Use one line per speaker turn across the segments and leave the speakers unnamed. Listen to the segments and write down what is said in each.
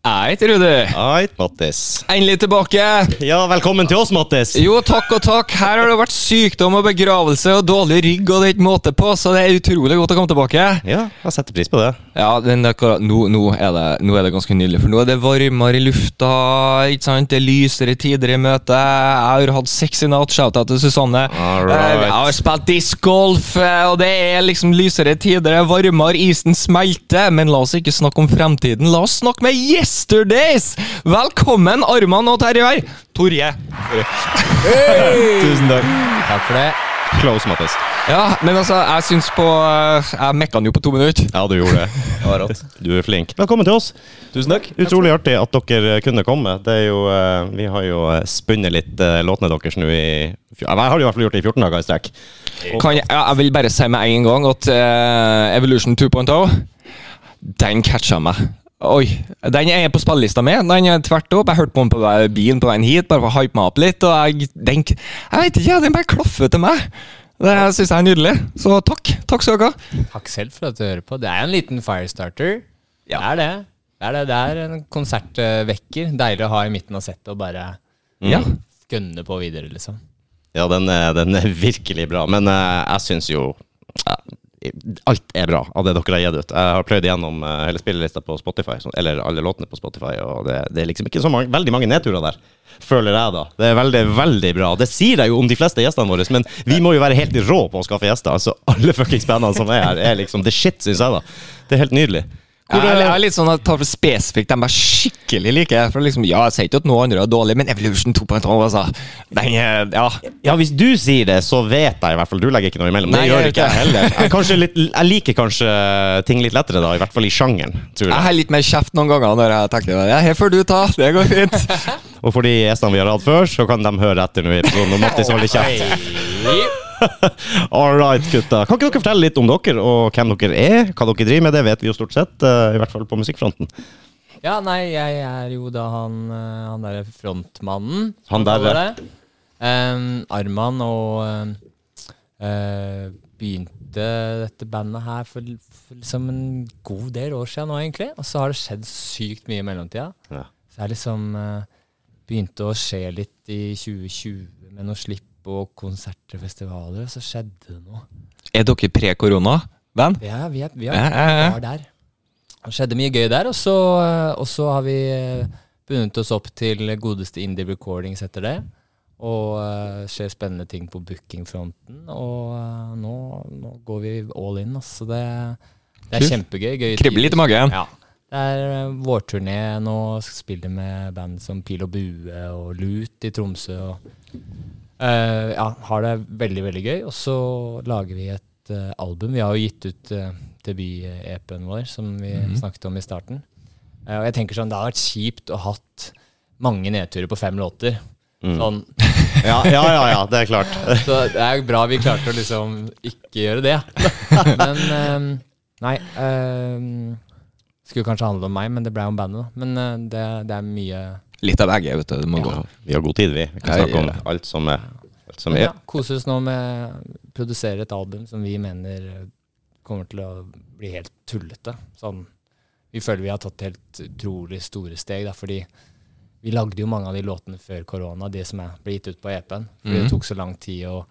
Eit, Rudi.
Eit, Mattis.
Endelig tilbake.
Ja, velkommen til oss, Mattis.
Jo, takk og takk. Her har det vært sykdom og begravelse og dårlig rygg, og det er ikke måte på, så det er utrolig godt å komme tilbake.
Ja, jeg setter pris på det.
Ja, men det er akkurat- nå, nå, er det, nå er det ganske nydelig, for nå er det varmere i lufta, ikke sant? Det er lysere tider i møte. Jeg har hatt sex i natt, shout-out til Susanne.
All
Eh, Jeg
right.
har spilt discgolf, eh, og det er liksom lysere tider, det er varmere, isen smelter. Men la oss ikke snakke om fremtiden, la oss snakke med Yesterdays! Velkommen, Arman og Terje. Torje.
Tusen takk.
Takk for det.
Close, Mattis.
Ja, men altså, jeg syns på eh, Jeg mekka den jo på to minutter.
Ja, du gjorde det. Du er flink. Velkommen til oss.
Tusen takk.
Utrolig artig at dere kunne komme. Det er jo, eh, vi har jo eh, spunnet litt eh, låtene deres nå i fj- Jeg har i hvert fall gjort det i 14 dager i strekk.
Kan jeg, ja, jeg vil bare si med en gang at eh, Evolution 2.0, den catcha meg. Oi, Den er på spillelista mi. Den er tvert opp. Jeg hørte på den på vei- bilen på veien hit, bare for å hype meg opp litt. Og jeg, den, jeg vet ikke, den bare klaffer til meg. Det syns jeg er nydelig. Så takk. Takk skal dere ha.
Takk selv for at du hører på. Det er en liten firestarter.
Ja.
Det er det. Det er, det. det er en konsertvekker. Deilig å ha i midten av settet og bare
Ja.
gønne på videre, liksom.
Ja, den er, den er virkelig bra. Men eh, jeg syns jo eh, Alt er bra av det dere har gitt ut. Jeg har pløyd gjennom eh, hele spillelista på Spotify, så- eller alle låtene på Spotify, og det, det er liksom ikke så mange, veldig mange nedturer der. Føler jeg, da. Det er veldig, veldig bra. Det sier jeg jo om de fleste gjestene våre, men vi må jo være helt rå på å skaffe gjester. Altså, alle fuckings bandene som er her, er liksom the shit, syns jeg, da. Det er helt nydelig. eh,
Jeg er, jeg er litt sånn at jeg tar for spesifikt de jeg skikkelig liker. For liksom, ja, Jeg sier ikke at noen andre er dårlig, men Evolution 2.0, altså. Den er, ja.
Ja, hvis du sier det, så vet jeg i hvert fall. Du legger ikke noe imellom.
Nei,
det gjør
jeg
ikke
gjør
jeg heller. Jeg, er kanskje litt, jeg liker kanskje ting litt lettere, da. I hvert fall i sjangeren, tror
Jeg
jeg.
har litt mer kjeft noen ganger når jeg tenker det. Ja, her får du ta, det går fint.
Og for de gjestene vi har hatt før, så kan de høre etter nå i episoden. Og Mattis holder kjeft.
Hei.
All right, gutta. Kan ikke dere fortelle litt om dere, og hvem dere er? Hva dere driver med? Det vet vi jo stort sett, eh, i hvert fall på musikkfronten.
Ja, nei, jeg er jo da han, eh, han derre frontmannen.
Han
som man
derre.
kaller det. Em, Arman og em, eh, begynte dette bandet her for, for liksom en god del år siden nå, egentlig. Og så har det skjedd sykt mye i mellomtida.
Ja.
Så jeg liksom eh, begynte å skje litt i 2020 med noen slipp og konserter og festivaler, og så skjedde det noe.
Er dere pre-korona, venn?
Ja, vi, er, vi
Ja,
er,
ja, ja.
var der. Det skjedde mye gøy der, og så, og så har vi eh, bundet oss opp til godeste Indie Recordings etter det. Og eh, skjer spennende ting på bookingfronten, og eh, nå, nå går vi all in. Altså det, det er
Kult.
kjempegøy. Gøy
Kribler litt i
tider.
magen.
Ja. Det er eh, vårturné nå, spiller med band som Pil og Bue og Lut i Tromsø. Og, eh, ja, har det veldig, veldig gøy. Og så lager vi et eh, album. Vi har jo gitt ut uh, debut-EP-en vår, som vi snakket om i starten. Eh, og jeg tenker sånn, det har vært kjipt å hatt mange nedturer på fem låter. Sånn,
Ja, ja, ja, ja, det er klart.
så det er jo bra vi klarte å liksom ikke gjøre det. Men ehm, Nei. ehm, skulle kanskje handle om meg, men det ble om bandet. da. Men eh, det, det er mye
Litt av begge, vet du. Det må gå.
Ja, vi har god tid, vi. Vi kan
Ja,
snakke om
ja.
alt som er. Alt som
Men ja,
er.
koser oss nå med å produsere et album som vi mener kommer til å bli helt tullete. Sånn, vi føler vi har tatt helt utrolig store steg, da, fordi vi lagde jo mange av de låtene før korona, de som er, ble gitt ut på EP-en. Fordi det tok så lang tid og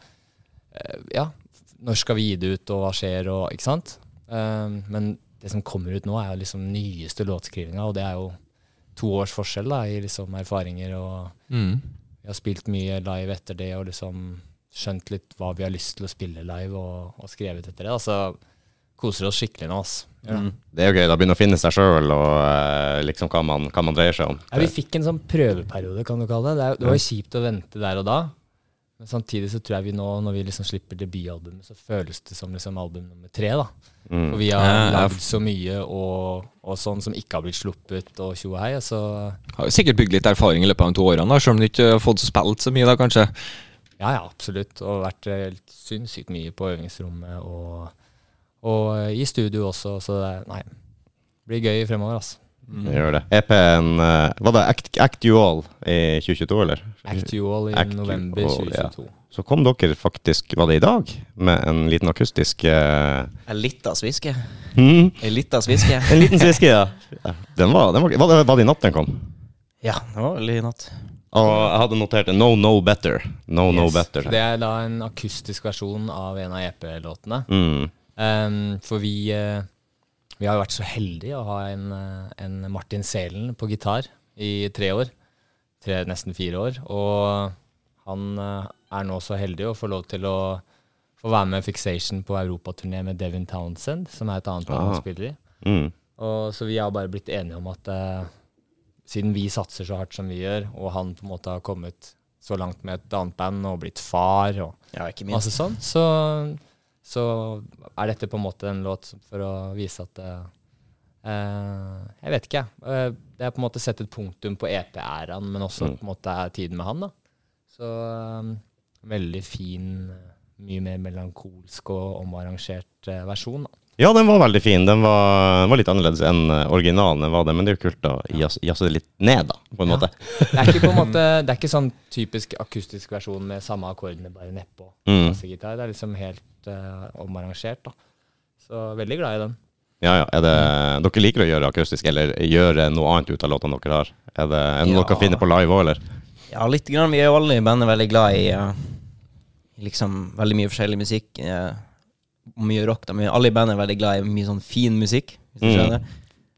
eh, Ja, når skal vi gi det ut, og hva skjer, og ikke sant? Um, men det som kommer ut nå, er jo liksom nyeste låtskrivinga, og det er jo to års forskjell da, i liksom erfaringer og
Mm.
vi har spilt mye live etter det og liksom skjønt litt hva vi har lyst til å spille live og, og skrevet etter det. Altså, koser oss skikkelig nå, ass. Mm. Gjør det.
Det er jo gøy. Da begynner å finne seg sjøl, og eh, liksom hva man, hva man dreier seg om.
Ja, vi fikk en sånn prøveperiode, kan du kalle det. Det, er, jo- det var jo kjipt å vente der og da. Men samtidig så tror jeg vi nå, når vi liksom slipper debutalbumet, så føles det som liksom album nummer tre, da.
Mm.
For vi
Ja,
har
ja.
lagd så mye og, og sånn som ikke har blitt sluppet, og tjo og hei. og Så
Har jo sikkert bygd litt erfaring i løpet av de to årene, da, selv om du ikke har fått spilt så mye, da, kanskje.
Ja, ja, absolutt. Og vært eh, helt sinnssykt mye på øvingsrommet og, og eh, i studio også, så det er- nei. Blir gøy fremover, altså.
Det Gjør det. EP-en eh, Var det Act, Actual i 2022, eller?
Actual i
Actual,
november
ja.
2022.
Så kom dere faktisk, var det i dag, med en liten akustisk eh,
En lita sviske.
hmm,
En lita sviske.
En liten sviske, ja. Den var, den var, var, det, var det i natt den kom?
Ja, det var vel i natt.
Og jeg hadde notert det. No, no better. No, no
Yes.
better.
Det er da en akustisk versjon av en av E EP-låtene.
Mm.
Ehm, for vi, eh, vi har jo vært så heldige å ha en, eh, en Martin Selen på gitar i tre år. Tre, nesten fire år. Og han eh, er nå så heldig å få lov til å få være med Fixation på europaturné med Devin Townsend, som er et annet band
Ah.
han spiller i.
Mm.
Og, så vi har bare blitt enige om at eh, siden vi satser så hardt som vi gjør, og han på en måte har kommet så langt med et annet band og blitt far og
Ja, ikke minst.
masse sånn, så, så er dette på en måte en låt som- for å vise at eh, eh, Jeg vet ikke, jeg. Eh, det er på en måte sett et punktum på EP-æraen, men også på en måte er tiden med han, da. Så eh, veldig fin, mye mer melankolsk og omarrangert eh, versjon, da.
Ja, den var veldig fin. Den var, var litt annerledes enn eh, originalen. den var det, Men det er jo kult å jazz- jazze det litt ned, da, på en
Ja.
måte.
Det er ikke på en måte Det er ikke sånn typisk akustisk versjon med samme akkordene bare nedpå.
Mm.
Bassegitar. Det er liksom helt eh, omarrangert, da. Så veldig glad i den.
Ja, ja. Er det, dere liker å gjøre akustisk, eller gjøre noe annet ut av låtene dere har? Er det er det noe
Ja.
dere finner på live òg, eller?
Ja, litt grann. Vi er jo alle i bandet veldig glad i eh, liksom veldig mye forskjellig musikk. eh, mye rock, da. Men vi er alle i bandet er veldig glad i mye sånn fin musikk, hvis du
Mm.
skjønner.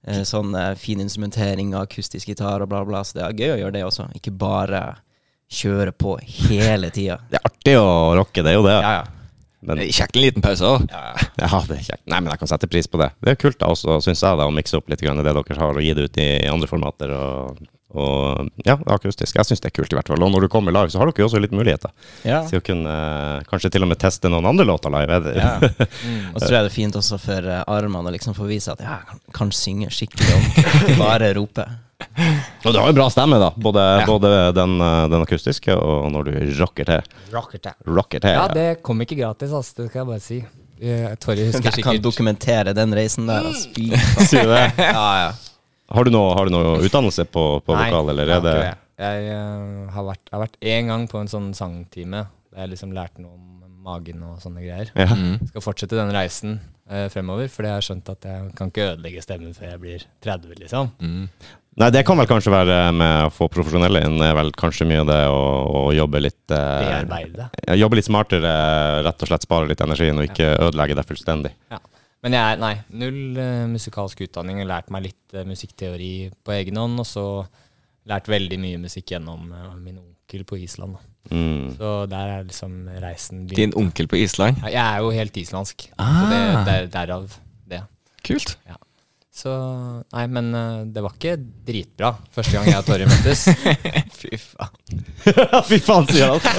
Eh, sånn eh, fin instrumentering av akustisk gitar og bla, bla. Så det er gøy å gjøre det også. Ikke bare kjøre på hele tida.
Det er artig å rocke, det er jo det.
Ja, ja.
Men,
Kjekk en liten pause òg.
ja, det er kjekt. Nei, men jeg kan sette pris på det. Det er kult da også, syns jeg, da, å mikse opp litt grann det dere har, og gi det ut i andre formater. Og, og ja, akustisk. Jeg syns det er kult, i hvert fall. Og når du kommer live, så har dere jo også litt muligheter
ja.
til å kunne eh, kanskje til og med teste noen andre låter live. Er det-
Ja. Mm. Og så tror jeg det er fint også for eh, armene å liksom få vise at ja, jeg kan, kan synge skikkelig om ikke bare rope.
Og du har jo bra stemme, da. Både, både den, eh, den akustiske og når du rocker til. Rocker til.
Ja, det kom ikke gratis, ass. Det skal jeg bare si. Eh, Torje husker
Jeg kan
sikkert
dokumentere den reisen der. Altså. Fy
Sier du det?
Ja, ja.
Har du noe, har du noe utdannelse på, på
Nei,
vokal, eller er det
Jeg, eh, har vært, jeg har vært én gang på en sånn sangtime. Der jeg liksom lærte noe om magen og sånne greier.
ja.
Mm.
Skal fortsette den reisen eh, fremover, for jeg har skjønt at jeg kan ikke ødelegge stemmen før jeg blir 30, liksom.
Mm. Nei, det kan vel kanskje være med å få profesjonelle inn, er vel kanskje mye det å, å jobbe litt eh,
Bearbeide det.
ja, Jobbe litt smartere, eh, rett og slett spare litt energien og ikke ødelegge det fullstendig.
Ja. Men jeg, nei, null eh, musikalsk utdanning. Jeg har lært meg litt eh, musikkteori på egen hånd, og så lært veldig mye musikk gjennom eh, min onkel på Island. Da.
Mm.
Så der er liksom reisen begynt.
Din onkel på Island.
Ja, Jeg er jo helt islandsk, så det,
Ah.
der, derav det.
Kult.
Så Nei, men eh, det var ikke dritbra første gang jeg og Torje møttes.
Fy faen.
Fy faen, sier han!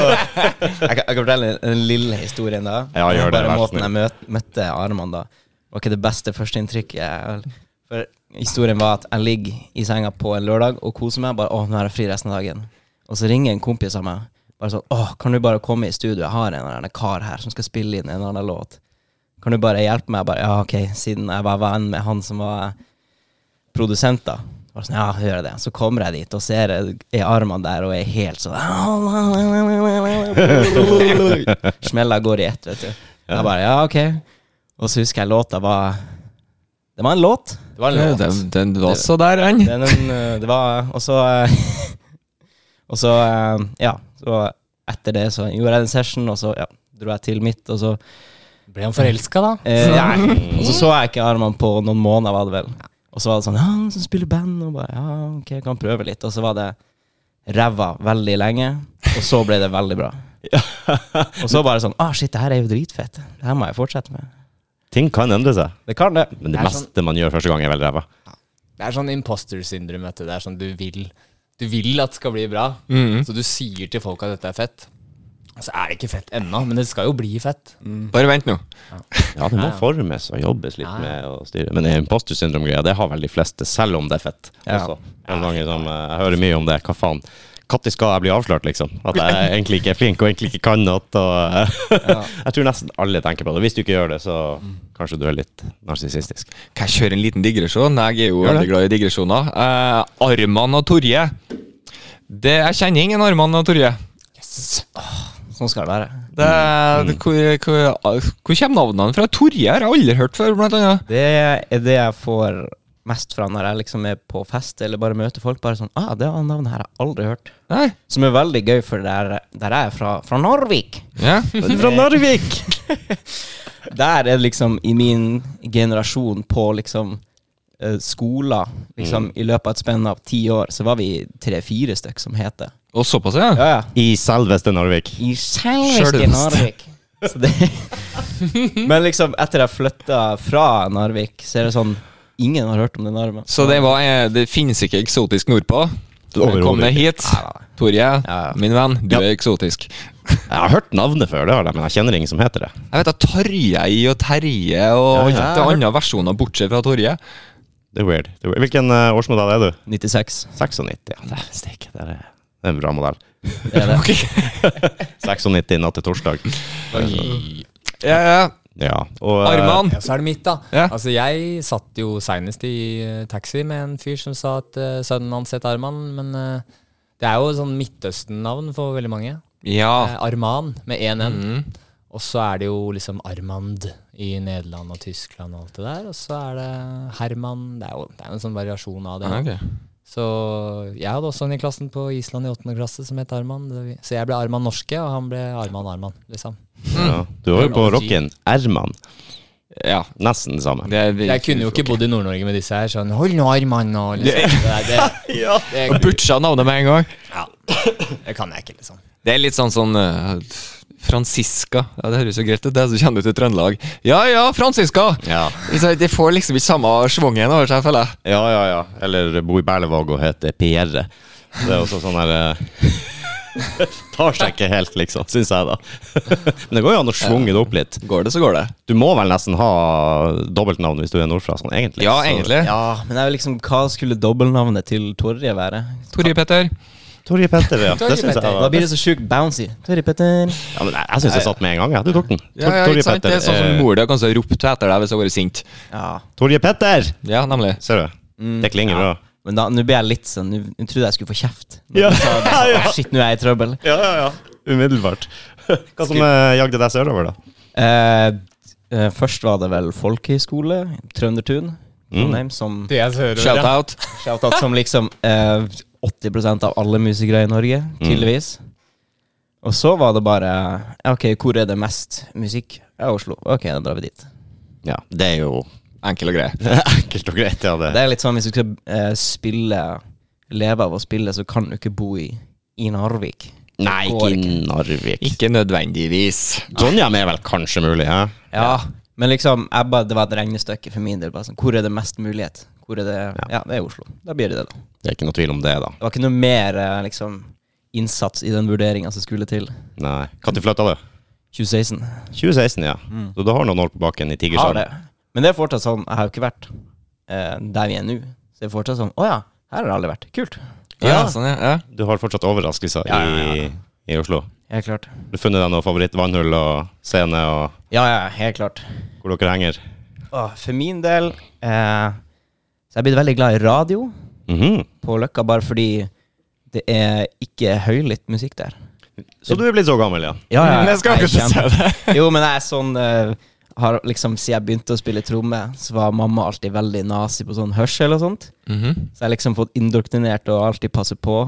Jeg kan, jeg kan fortelle den lille historien da.
Ja, gjør det,
Bare
vær så
måten
snill.
jeg møt, møtte Arman da. Var ikke det beste førsteinntrykket. For historien var at jeg ligger i senga på en lørdag og koser meg. Bare, å, nå har jeg fri resten av dagen. Og så ringer en kompis av meg. Bare sånn, å, kan du bare komme i studio? Jeg har en eller annen kar her som skal spille inn en eller annen låt. Kan du bare hjelpe meg? Jeg Bare, ja, ok, siden jeg var venn med han som var produsent, da. Bare sånn, ja, gjør jeg det. Så kommer jeg dit og ser er armene der og er helt sånn Smella går i ett, vet du. Jeg bare, ja, ok. Og så husker jeg låta var Det var en låt.
Det var en
Ja,
låt.
Den, den var så der, han.
Den, eh, det var Og så eh, Og så, eh, ja. Så etter det så gjorde jeg en session, og så ja, dro jeg til mitt, og så
Ble han forelska, da?
Eh, nei. Og så så jeg ikke Arman på noen måneder, var det vel. Og så var det sånn Ja, han som spiller band, og bare Ja, ok, jeg kan prøve litt. Og så var det ræva veldig lenge, og så ble det veldig bra. Og så bare sånn Ah, shit, det her er jo dritfett. Det her må jeg fortsette med.
Ting kan endre seg,
Det kan det.
men det,
Det er
meste man gjør første gang, er vel ræva.
Det er sånn imposter syndrome. vet du. Det er sånn du vil Du vil at det skal bli bra, så du sier til folk at dette er fett. Og så er det ikke fett ennå, men det skal jo bli fett.
Bare vent nå.
Ja, det må formes og jobbes litt med og styre. Men imposter syndrom-greia, det har vel de fleste, selv om det er fett.
Ja.
Også. En gang liksom, eh, jeg hører mye om det. Hva faen? Når skal jeg bli avslørt, liksom? At jeg egentlig ikke er flink og egentlig ikke kan noe. Og, jeg tror nesten alle tenker på det. Hvis du ikke gjør det, så
Mm.
kanskje du er litt narsissistisk.
Kan jeg kjøre en liten digresjon? Jeg er jo
Gjør det.
veldig glad i digresjoner. Eh, Arman og Torje. Det, jeg kjenner ingen Arman og Torje.
Sånn skal det være.
Det, det, hvor, hvor, hvor kommer navnene fra? Torje har jeg aldri hørt før, blant annet.
Det er det jeg får mest fra når jeg liksom er på fest eller bare møter folk. Bare sånn ah, 'Det navnet her har jeg aldri hørt'.
Nei?
Som er veldig gøy, for der, der er jeg fra, fra Narvik.
Ja.
Fra Narvik! Eh, Der er det liksom i min generasjon på liksom eh, skoler liksom,
Mm.
I løpet av et spenn av ti år så var vi tre-fire stykk som het det.
Og såpass, ja?
Ja, ja.
I selveste Narvik.
I selveste
Sjølveste.
Narvik. Så det, men liksom, etter jeg flytta fra Narvik, så er det sånn Ingen har hørt om det navnet.
Så det, var, eh, det finnes ikke eksotisk nordpå?
Overhodet
Kom deg hit. Torje,
ja.
min venn, du
Ja.
er eksotisk.
Jeg har hørt navnet før, det har jeg, men jeg kjenner ingen som heter det.
Jeg vet da Tarjei og Terje og
Ja, ja.
alt det andre versjoner bortsett fra Torje.
Det er weird. Det er weird. Hvilken eh, årsmodell er du?
96.
96. Ja, det er, steik, det er, det er en bra modell.
Det er det.
96 natt til torsdag.
Ja, ja.
Ja. Og, eh,
Arman.
Ja, så er det mitt, da.
Ja.
Altså, jeg satt jo seinest i eh, taxi med en fyr som sa at eh, sønnen hans het Arman, men eh, det er jo sånn Midtøsten-navn for veldig mange.
Ja.
Eh, Arman med én N. Og så er det jo liksom Armand i Nederland og Tyskland og alt det der. Og så er det Herman. Det er jo det er jo en sånn variasjon av det.
Ja, Ah, ok.
Så jeg hadde også en i klassen på Island i åttende klasse som het Arman. Det- Så jeg ble Arman Norske, og han ble Arman Arman, liksom.
ja. Du var jo på rocken. Erman.
Ja.
Nesten det samme.
Det, det,
Jeg kunne jo ikke bodd i Nord-Norge med disse her, sånn Hold nå Arman og liksom. Det, det, det,
Og butcha navnet med en gang.
det, det kan jeg ikke, liksom.
Det er litt sånn sånn eh, Franziska. Ja, det høres jo greit ut. Det er så kjenner du til Trøndelag. Ja ja, Franziska!
Ja.
Ikke sant, De får liksom ikke samme svungen over seg, føler jeg.
Ja, ja, ja. Eller bo i Berlevåg og hete Pierre. E. Det er også sånn her eh, Tar seg ikke helt, liksom, syns jeg, da. Men det går jo an å svunge det opp litt.
Går det, så går det.
Du må vel nesten ha dobbeltnavn hvis du er nordfra, sånn egentlig.
Ja,
Så-
egentlig.
Ja, men det er jo liksom, hva skulle dobbeltnavnet til Torje være?
Torje Petter.
Torje Petter, ja.
Torje
Det syns jeg.
Petter.
Da
var-
blir det så sjukt bouncy. Torje Petter.
Ja, men jeg jeg syns jeg satt med en gang, jeg. Du tok den. Tor-
Ja, ja,
Torje
ikke sant? Det er sånn som
eh,
mor di kanskje har ropt etter deg hvis hun har vært sint.
Ja.
Torje Petter!
Ja, nemlig.
Ser du? Det klinger bra.
Men da, nå blir jeg litt sånn Nå nå trodde jeg skulle få kjeft. Men
Ja.
så sa jeg bare sånn, «Å, Shit, nå er jeg i trøbbel.
Ja, ja, ja. Umiddelbart. Hva som eh, jagde deg sørover, da?
Eh, eh, først var det vel folkehøyskole, Trøndertun, Trondheim, som
Shout-out.
Shoutout som liksom eh, 80 av alle musikere i Norge, tydeligvis. Og så var det bare ja, Ok, hvor er det mest musikk? Ja, Oslo. Ok, da drar vi dit.
Ja, det er jo
Enkel og grei.
enkelt og greit, ja.
Det er litt sånn hvis du skal eh, spille leve av å spille, så kan du ikke bo i, i Narvik.
Nei,
Går
ikke i Narvik.
Ikke nødvendigvis.
Trondheim er vel kanskje mulig, hæ?
Ja, Men liksom, jeg bare, det var et regnestykke for min del. Bare sånn, hvor er det mest mulighet? Hvor er det Ja, det er Oslo. Da blir det det, da.
Det er ikke noe tvil om det, da.
Det var ikke noe mer eh, liksom, innsats i den vurderinga som skulle til.
Nei. Når flytta du? Mm.
2016.
2016, ja. Så du har noen år på bakken i
Har det.
Tigersand?
Men det er fortsatt sånn, jeg har jo ikke vært eh, der vi er nå. Så det er fortsatt sånn Å ja, her har det aldri vært. Kult.
Ja, sånn, ja. ja.
Du har fortsatt overraskelser I, i Oslo?
Helt klart.
Du har funnet deg noe favorittvannhull og scene og
Ja, ja, helt klart.
hvor dere henger?
Åh, for min del eh, Så jeg er blitt veldig glad i radio
Mhm.
på Løkka, bare fordi det er ikke høylytt musikk der.
Så du er blitt så gammel, ja?
Ja, ja,
Jeg skal
jeg
ikke
kjempe-
se det.
Jo, men jeg er sånn eh, har, liksom, Siden jeg begynte å spille tromme, så var mamma alltid veldig nazi på sånn hørsel og sånt.
Mhm.
Så jeg har liksom fått indoktrinert og alltid passet på.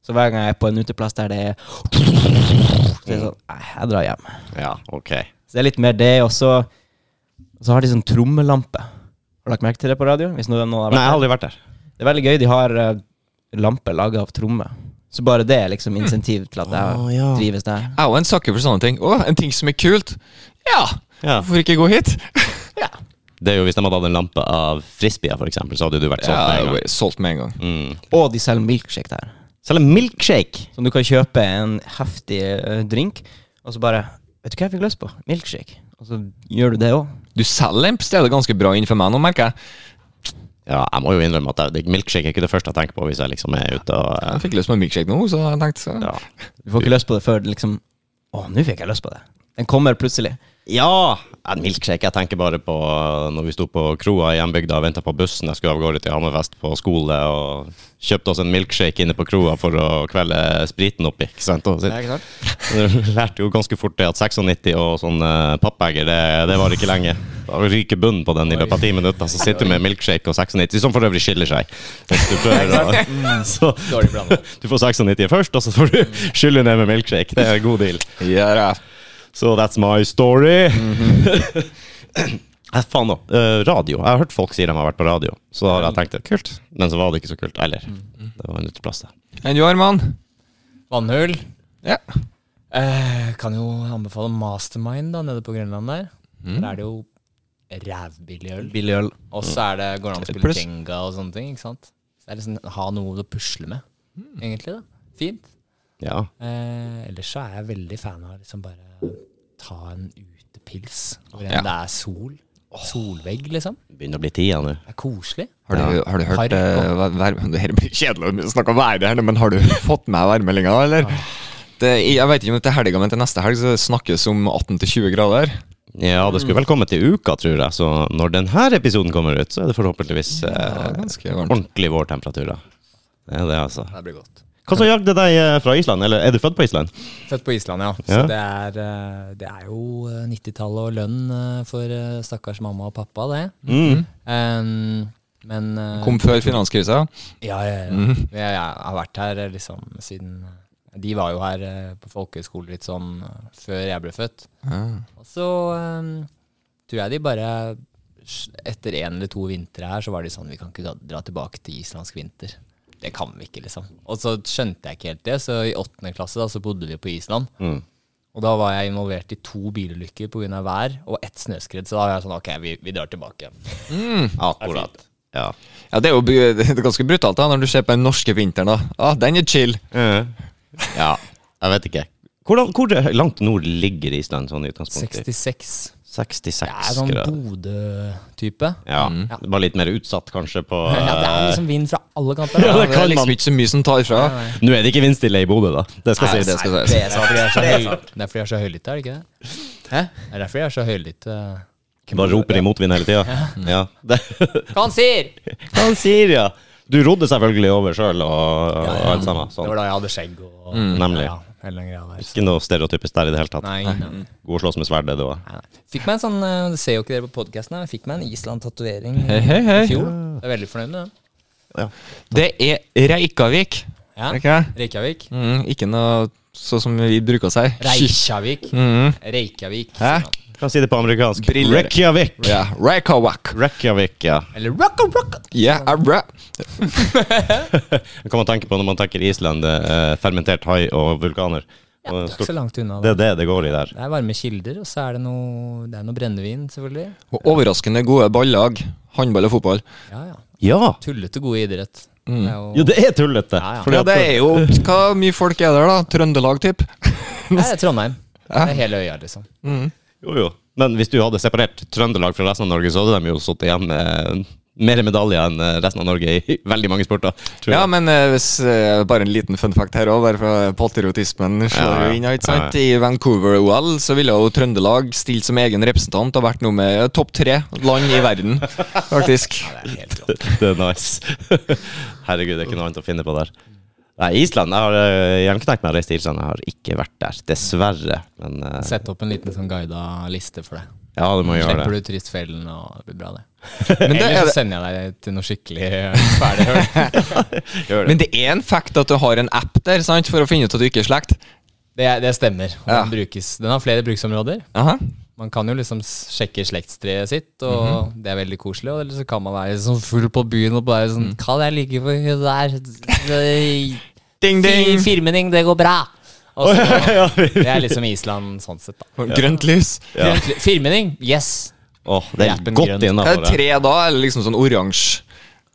Så hver gang jeg er på en uteplass der det er Så er det sånn Nei, jeg drar hjem.
Ja, ok.
Så det er litt mer det, og så Og så har de sånn trommelampe. Har du lagt merke til det på radio? Hvis noen, noen har
Nei,
vært
jeg har
der?
aldri vært der.
Det er veldig gøy. De har eh, lampe laga av tromme. Så bare det er liksom insentiv til at jeg
Å, ja.
trives der.
Jeg er jo en sucker for sånne ting. Å, en ting som er kult. Ja,
Ja.
hvorfor ikke gå hit?
Det er jo Hvis de hadde hatt en lampe av frisbeer, for eksempel, så hadde du vært sånn.
Ja,
med en
jeg
gang.
ble solgt med en gang.
Og de selger milkshake der.
Selv en milkshake!
Som du kan kjøpe en heftig eh, drink, og så bare Vet du hva jeg fikk lyst på? Milkshake. Og så gjør du det òg.
Du selger en stedet ganske bra innenfor meg nå, merker jeg.
Ja, jeg må jo innrømme at jeg- milkshake er ikke det første jeg tenker på hvis jeg liksom er ute og eh,
Jeg fikk lyst på en milkshake nå, så jeg tenkte så.
ja.
Du får ikke lyst på det før det liksom Å, nå fikk jeg lyst på det. Den kommer plutselig.
Ja! En milkshake. Jeg tenker bare på eh, når vi sto på kroa i hjembygda og venta på bussen. Jeg skulle av gårde til Hammerfest på skole og kjøpte oss en milkshake inne på kroa for å kvele spriten oppi. Ikke sant? Og,
Ja, ikke sant?
du lærte jo ganske fort det at 96 og sånn eh, pappeger, det, det var ikke lenge. Da ryker bunnen på den i løpet av ti minutter, så sitter du med milkshake og 96, som for øvrig skiller seg. Hvis du prøver å så,
Dårlig blanda.
Du får 96 først, og så får du
Mm.
skylle ned med milkshake. Det er en god deal. So that's my story. Eh, Faen òg. radio. Jeg har hørt folk si de har vært på radio. Så da har jeg tenkt det kult, men så var det ikke så kult heller. Det var en uteplass, det.
Enn du, Arman?
Vannhull.
Ja.
Eh, kan jo anbefale Mastermind da, nede på Grønland der. Der er det jo rævbillig øl.
Billig øl.
Og så er det, går det an å spille
Pluss-
Jenga og sånne ting. ikke sant? Så det er liksom Ha noe å pusle med, egentlig. da. Fint.
Ja.
Hmm. Eh, ellers så er jeg veldig fan av liksom bare ta en utepils hvor enn
Ja.
det er sol. Solvegg, liksom.
Begynner å bli tida nå.
Det er koselig.
Har du, har du hørt
Harry.
eh, vær, vær- Det her blir kjedelig å snakke om været, her nå, men har du fått med værmeldinga, eller? Det, jeg vet ikke om det er helga, men til neste helg så snakkes om 18-20 grader.
Ja, det skulle vel komme til uka, tror jeg. Så når denne episoden kommer ut, så er det forhåpentligvis
Det er
eh,
ganske varmt.
ordentlig vårtemperaturer. Det er det, altså.
Det blir godt.
Hva som jagde deg eh, fra Island? Eller er du født på Island?
Født på Island, ja. Så
Ja.
Det, er, eh, det er jo eh, 90-tallet og lønn eh, for eh, stakkars mamma og pappa, det.
Mm.
Em, men eh,
Kom før finanskrisa.
Ja, ja, ja. Men Jeg, jeg har vært her eh, liksom siden eh, De var jo her eh, på folkehøyskole litt sånn eh, før jeg ble født. Og så eh, tror jeg de bare s- Etter en eller to vintre her, så var de sånn Vi kan ikke ga- dra tilbake til islandsk vinter. Det kan vi ikke, liksom. Og så skjønte jeg ikke helt det, så i åttende klasse da, så bodde vi på Island.
Mm.
Og da var jeg involvert i to bilulykker pga. vær og ett snøskred, så da var jeg sånn OK, vi, vi drar tilbake.
Akkurat. Ja.
Ja, det er jo bu- det er ganske brutalt da, når du ser på den norske vinteren. da. Ah, den er chill.
Eh. ja. Jeg vet ikke. Hvordan, hvor langt nord ligger Island sånn i utgangspunktet?
66.
66
Det er sånn
grader.
Bodø-type.
Ja.
Mm.
Ja.
Bare litt mer utsatt, kanskje, på
Ja, det er
eh,
liksom vind fra alle kanter.
Ja,
da.
det
det er
kan
liksom
man.
ikke så mye som tar fra.
Nå er det ikke vindstille i Bodø, da. Det skal
Nei,
sies.
det skal sies.
Det er fordi jeg er så høy- det er fordi jeg er så høylytt, er det ikke det?
Hæ?
Det er derfor jeg er så høylytt. eh.
Bare roper i motvind hele tida. Ja. Det-
Hva han sier!
Hva han sier, ja? Du rodde selvfølgelig over sjøl og, og alt sammen.
Det
Sånn. Mm.
var da jeg hadde skjegg og
Nemlig.
Ja, hele den greia der. så-
Ikke noe stereotypisk der i det hele tatt.
Nei, nei, nei.
God å slåss med sverdet da.
nei. Fikk meg en sånn eh, Det ser jo ikke dere på podkasten, men jeg fikk meg en Island-tatovering
Hei, hei, hei.
i fjor. Jeg er veldig fornøyd med den.
Det er Reykjavik.
Ja.
Er det ikke det?
Reykjavik.
Mm, ikke noe sånn som vi bruker å si.
Reykjavik.
Mhm.
Reykjavik. sier
Hæ?
man.
Kan si det på amerikansk.
Briller.
Reykjavik.
Ja, Reykjavik.
Reykjavik, ja.
Eller rocka rocka!
Ja,
Sånn.
abra.
Det kan man tenke på når man tenker Island, det er fermentert hai og vulkaner.
Det
Og
er ikke så
stort,
langt unna.
det
Da.
er det det går i der.
Det er varme kilder, og så er det noe, det er noe brennevin, selvfølgelig.
Og overraskende gode ballag. Håndball og fotball.
Ja, ja.
Ja!
Tullete god idrett. Det er
Jo, det er tullete.
Ja, ja.
Fordi
Ja,
at-
det er jo Hva mye folk er der, da? Trøndelag, tipp?
Nei, det er Trondheim. Det er hele øya, liksom.
Jo, jo. Men hvis du hadde separert Trøndelag fra resten av Norge, så hadde de jo sittet igjen med mer medaljer enn eh, resten av Norge i veldig mange sporter. Tror jeg.
Ja, men eh, hvis, eh, bare en liten fun fact her òg, bare for patriotismen slår
Ja, ja.
jo inn. her, ikke sant?
Ja,
I Vancouver-OL så ville jo Trøndelag stilt som egen representant og vært noe med eh, topp tre land i verden, faktisk.
det er nice. Herregud, det er ikke noe annet å finne på der. Nei, Island. Jeg har eh, jernknekt meg å reise til Island. Jeg har ikke vært der, dessverre. Men eh,
Sett opp en liten sånn guida liste for deg.
ja, du må gjøre
Slipper
det.
du turistfellen, og det blir bra, det.
Men det,
Eller
er,
så sender jeg deg til noe skikkelig eh, ferdig høl.
Gjør det.
men det er en fact at du har en app der sant, for å finne ut at du ikke er slekt.
Det, det stemmer. og
Ja.
Den, brukes. den har flere bruksområder.
Aha.
Man kan jo liksom s- sjekke slektstreet sitt, og det er veldig koselig. Og Eller så kan man være sånn full på byen og bare sånn Hva det er like for hun der?
Ding, ding!
Fi- Firmening, det går bra! Og så, det er liksom Island sånn sett, da.
Grønt lys.
Ja.
Grønt- Firmening, yes!
Åh, det er
Hjelpen grønn.
godt
Er det
innafor.
tre da, eller liksom sånn oransje?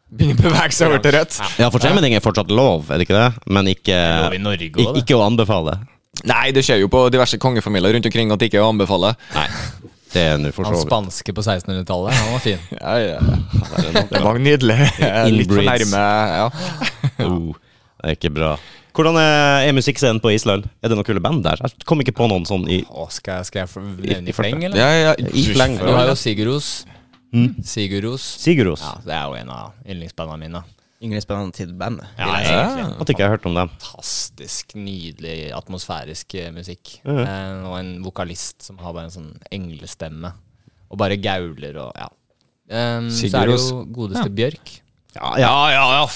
Begynner å bevege seg over til rødt.
Ja, for tremenning er fortsatt lov, er det ikke det? Men ikke,
lov i Norge også, det.
ikke å anbefale.
Nei, det skjer jo på diverse kongefamilier rundt omkring at det ikke er å anbefale.
Nei, det er nå for
Han
så vidt.
spanske på 1600-tallet, han var fin.
Ja, ja. Det var nydelig. eh, Litt for
Inbreeds.
nærme. Ja.
Oh, det er ikke bra. Hvordan er, er musikkscenen på Island? Er det noen kule band der? Jeg kom ikke på noen sånn i
Å, skal, jeg, skal jeg f- nevne i fleng, eller?
Ja, ja,
I fleng.
Du har jo Siguros. Siguros.
Siguros.
Ja, det er jo en av yndlingsbandene mine.
Yndlingsbandet til bandet.
Ja,
ja.
At ikke jeg har hørt om dem.
fantastisk nydelig atmosfærisk eh, musikk.
Mhm.
Eh, og en vokalist som har bare en sånn englestemme. Og bare gauler og ja. Em, så er det
Sigurd
jo godeste Bjørk.
Ja, ja.
Ja, ja, ja.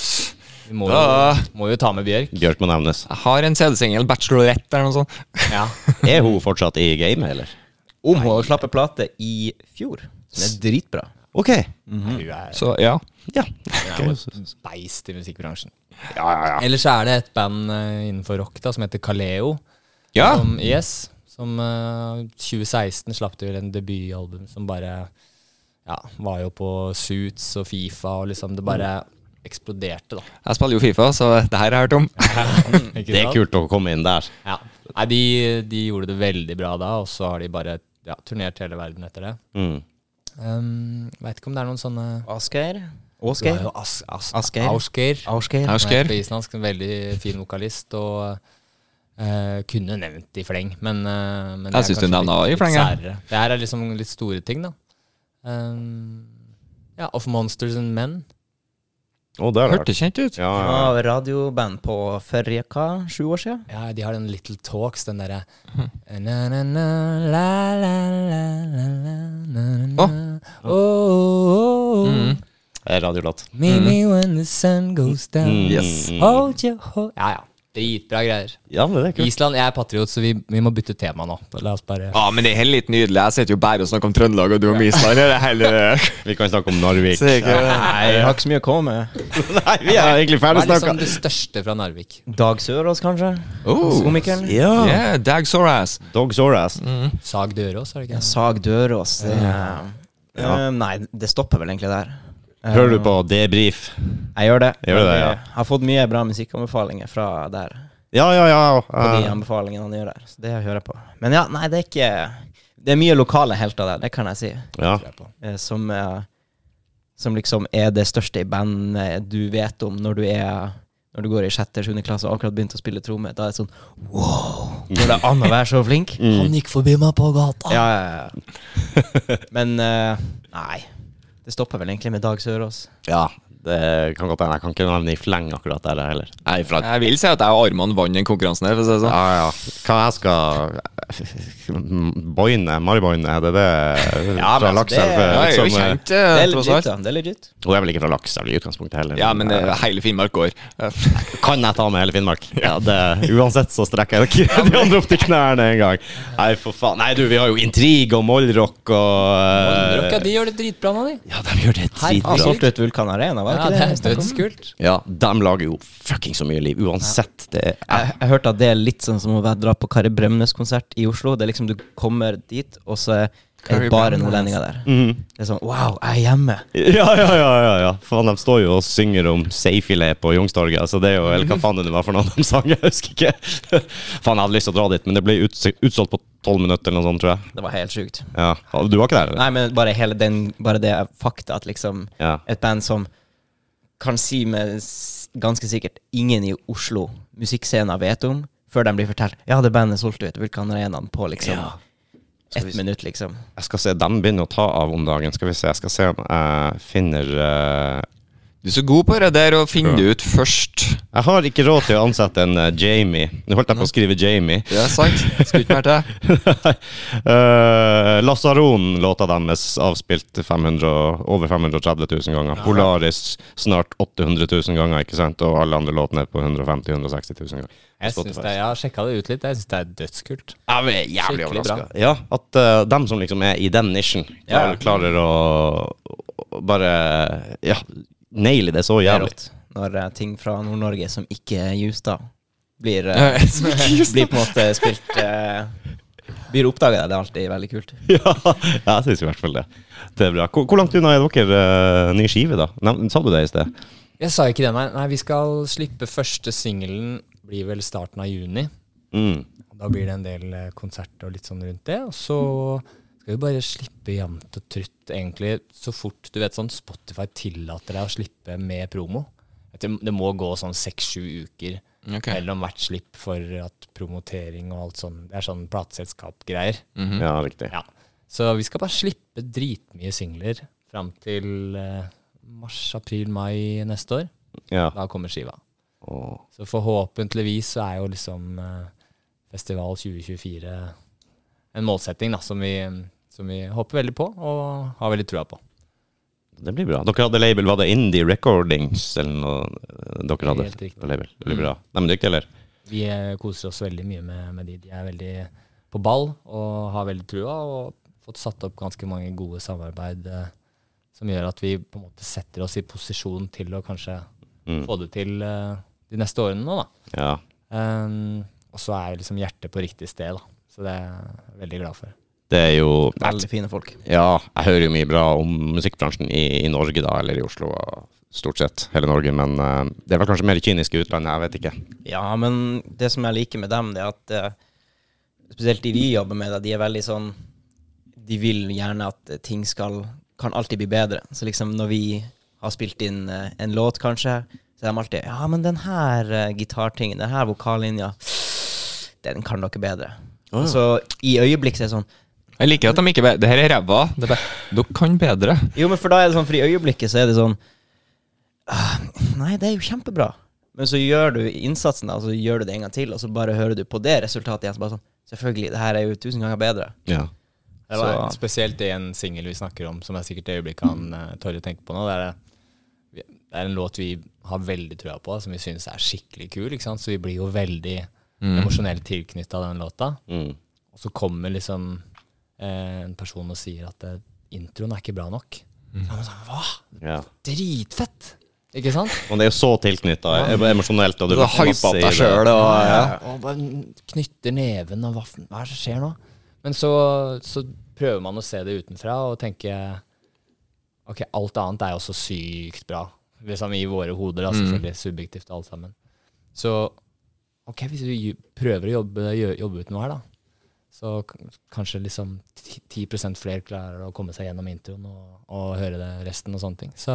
Vi må
Ja.
jo, må jo ta med Bjørk.
Bjørk må nevnes.
Jeg har en CD-singel, 'Bachelorette' eller noe sånt.
Ja.
Er hun fortsatt i gamet, eller?
Om hun slapp en plate i fjor. Som er dritbra.
OK. Mm.
Hun er
Så ja.
Ja.
hun er jo et beist i musikkbransjen.
Ja, ja, ja.
Ellers er det et band eh, innenfor rock da, som heter Kaleo.
ja.
Som, yes, som eh, 2016 slapp de vel en debutalbum som bare ja, var jo på Suits og Fifa, og liksom det bare eksploderte, da.
Jeg spiller jo Fifa, så det her har jeg hørt om.
Ikke
Det er
sant?
kult å komme inn der.
Ja. Nei, de, de gjorde det veldig bra da, og så har de bare ja, turnert hele verden etter det.
Mm.
Um, Veit ikke om det er noen sånne
Asgeir.
Det er
Åsgeir.
jo As, As,
Asgeir.
Ausgeir.
Ausgeir.
Ja. Asgeir.
Som er På islandsk, en veldig fin vokalist. Og eh, kunne nevnt i fleng, men, eh, men det er
synes du
kanskje
navnet var i
litt-
fleng, ja.
litt særere. Det her er liksom litt store ting, da. Um, ja, Of Monsters and Men.
Å, der har jeg hørt.
Hørtes kjent ut.
Ja,
Det
ja, ja.
var radioband på forrige hva, sju år siden?
Ja, De har den Little Talks, den derre na, na, na, la, la, la, la, la, na, na, na. Oh, oh, oh.
Det er Radiolåt.
Meet me when the sun goes down.
Yes.
Hold your ho Ja, ja. Dritbra greier.
Mm. Ja, men det er kult.
Island, jeg er patriot, så vi, vi må bytte tema nå. La oss bare
Ja, men det er heller litt nydelig. Jeg sitter jo bare og snakker om Trøndelag, og du om Island. Det er heller
Vi kan snakke om Narvik.
Så ikke-
Nei, jeg har ikke så mye å komme med.
Nei, vi er egentlig
Hva
ferdig
er liksom
snakka.
det største fra Narvik?
Dag Sørås, kanskje?
Oh.
Komikeren?
Ja.
Yeah, Dag Soras.
Dog sore ass.
Sag Dørås, er det ikke? det?
Sag Dørås. Det, Eh, nei, det stopper vel egentlig der. Eh,
Hører du på debrief?
Jeg gjør det.
Gjør du det, ja.
Jeg har fått mye bra musikkanbefalinger fra der.
Ja, ja, ja.
På de
eh,
anbefalingene han gjør der. Så det hører jeg på. Men ja, nei, det er ikke Det er mye lokale helter der, det kan jeg si.
ja.
eh, Som, eh, som liksom er det største i bandet du vet om når du er når du går i sjette-sjuende klasse og akkurat begynte å spille tromme. Da er det sånn Wow! Går det an å være så flink?
Han gikk forbi meg på gata.
Ja, ja, ja. Men eh, nei. Det stopper vel egentlig med Dag Sørås.
ja. Det kan godt hende. Jeg kan ikke nevne i fleng akkurat der heller. Nei, fra
Jeg vil si at jeg og Arman vant den konkurransen her, for å si det sånn.
Ja, ja. Hva jeg skal Boine? Mariboine? Er det det?
Ja,
fra
men altså,
Lakselv?
det-
Ja, jeg er jo
som, eh,
kjent,
Det
eh,
er
tross
legit,
alt.
da. Det er legit.
Hun er vel ikke fra Lakselv i utgangspunktet heller? eh,
Ja, men eh, hele Finnmark går.
Kan jeg ta med hele Finnmark? Ja, det, Uansett så strekker jeg ikke de andre opp til knærne en gang. Nei, for faen. Nei, du, vi har jo Intrig og Mollrock og eh,
Rocka, de gjør det dritbra nå, de.
Ja, de gjør det
Han
dritbra.
Herregud.
solgte ut Vulkan Arena, var det
Ja,
ikke
det
det?
er dødskult.
Ja, de lager jo fucking så mye liv. Uansett. Det er
Jeg, jeg hørte at det er litt sånn som å være- dra på Kari Bremnes-konsert i Oslo. Det er liksom Du kommer dit, og så er
Kari
det bare
Bremnes.
nordlendinger der.
Mhm.
Det er sånn Wow, jeg er hjemme!
Ja, ja, ja. ja, ja. Faen, de står jo og synger om seifilet på Youngstorget. Altså, det er jo, eller hva faen det var for noe de sang, jeg husker ikke. Faen, jeg hadde lyst til å dra dit, men det ble uts utsolgt på tolv minutter eller noe sånt, tror jeg.
Det var helt sjukt.
Ja. Du var ikke der? eller?
Nei, men bare, hele den, bare det fakta at liksom
Ja.
Et band som kan si med s- ganske sikkert ingen i Oslo musikkscenen vet om, før de blir fortalt Ja, det bandet solgte ut Vulkan Arenaen på liksom
Ja. Skal vi s-
ett minutt, liksom.
Jeg skal se, de begynner å ta av om dagen. Skal vi se, jeg skal se om jeg finner eh,
Du er så god på det der å finne det ut først.
Jeg har ikke råd til å ansette en eh, Jamie. Nå holdt jeg på å skrive Jamie.
Det er sant. Skulle ikke vært det.
Eh, Lasaron-låta deres avspilt 500, og- over 530 000 ganger. Polaris snart 800 000 ganger, ikke sant? Og alle andre låtene er på 150 000-160 000 ganger.
Jeg, synes det, jeg har sjekka det ut litt. Jeg syns det er dødskult.
Jeg er jævlig
Skikkelig bra.
overraska. Ja, at eh, dem som liksom er i den nisjen, klarer, klarer å, å bare Ja, naile det så
Det er
jævlig.
rått. Når eh, ting fra Nord-Norge som ikke er Justad, blir eh, blir
Ja,
på en måte spilt eh, Blir oppdaget der, det er alltid veldig kult.
ja, jeg syns i hvert fall det. Det er bra. Hvor, hvor langt unna er dere eh, ny skive, da? Nei, sa du det i sted?
Jeg sa ikke det, nei. nei vi skal slippe første singelen, blir vel starten av juni.
Mm.
Da blir det en del eh, konserter og litt sånn rundt det. Og så skal vi bare slippe jevnt og trutt, egentlig, så fort du vet sånn Spotify tillater deg å slippe med promo. Det, det må gå sånn seks-sju uker
Ok.
mellom hvert slipp for at promotering og alt sånn Det er sånn plateselskap-greier.
Mhm.
Ja, riktig.
Ja. Så vi skal bare slippe dritmye singler fram til eh, mars, april, mai neste år.
Ja.
Da kommer skiva.
Åh.
Så forhåpentligvis så er jo liksom eh, Festival 2024 en målsetting da, som vi, som vi håper veldig på og har veldig trua på.
Det blir bra. Dere hadde label, var det Indie Recordings eller noe eh, dere hadde?
Helt riktig.
Label. Det blir bra. Nei, men dyktig, eller?
Vi eh, koser oss veldig mye med, med de. De er veldig på ball og har veldig trua og fått satt opp ganske mange gode samarbeid eh, som gjør at vi på en måte setter oss i posisjon til å kanskje
Mm.
få det til eh, de neste årene nå, da.
Ja.
Ehm, og så er liksom hjertet på riktig sted, da. Så det er jeg veldig glad for.
Det er jo
Veldig fine folk.
Ja, jeg hører jo mye bra om musikkbransjen i, i Norge, da, eller i Oslo. og Stort sett hele Norge, men eh, det er vel kanskje mer kynisk i utlandet, jeg vet ikke.
Ja, men det som jeg liker med dem, det er at eh, spesielt de vi jobber med, da, de er veldig sånn De vil gjerne at eh, ting skal kan alltid bli bedre. Så liksom når vi har spilt inn eh, en låt, kanskje, så er de alltid Ja, men den her eh, gitartingen, den her vokallinja, den kan dere bedre. Og Så i øyeblikk så er det sånn
Jeg liker at de ikke be- Det her er ræva. Det er bare, Dere kan bedre.
Jo, men for da er det sånn, for i øyeblikket så er det sånn «Ah, Nei, det er jo kjempebra. Men så gjør du innsatsen, da, og så gjør du det en gang til, og så bare hører du på det resultatet igjen. Så bare sånn Selvfølgelig, det her er jo tusen ganger bedre.
Ja.
Det var spesielt i en singel vi snakker om, som er sikkert det øyeblikket han eh, Torje tenker på nå. Det er, vi- det er en låt vi har veldig trua på, som vi syns er skikkelig kul. Ikke sant? Så vi blir jo veldig emosjonelt tilknytta den låta.
Mm.
Og så kommer liksom eh, en person og sier at eh, introen er ikke bra nok. Ja, men sånn, Hva?
ja.
Dritfett! Ikke sant?
Og det er jo så tilknytta emosjonelt. Og du
Du har hypa opp
masse i
deg
det.
sjøl og ja.
Og bare knytter neven og hva, f- hva er det som skjer nå? Men så, så prøver man å se det utenfra og tenke Ok, alt annet er jo så sykt bra. Liksom I våre hoder, da, selvfølgelig. Subjektivt alt sammen. Så ok, hvis vi ju- prøver å jobbe, gjø- jobbe ut noe her, da, så k- kanskje liksom ti- 10 flere klarer å komme seg gjennom introen og, og høre det resten og sånne ting. Så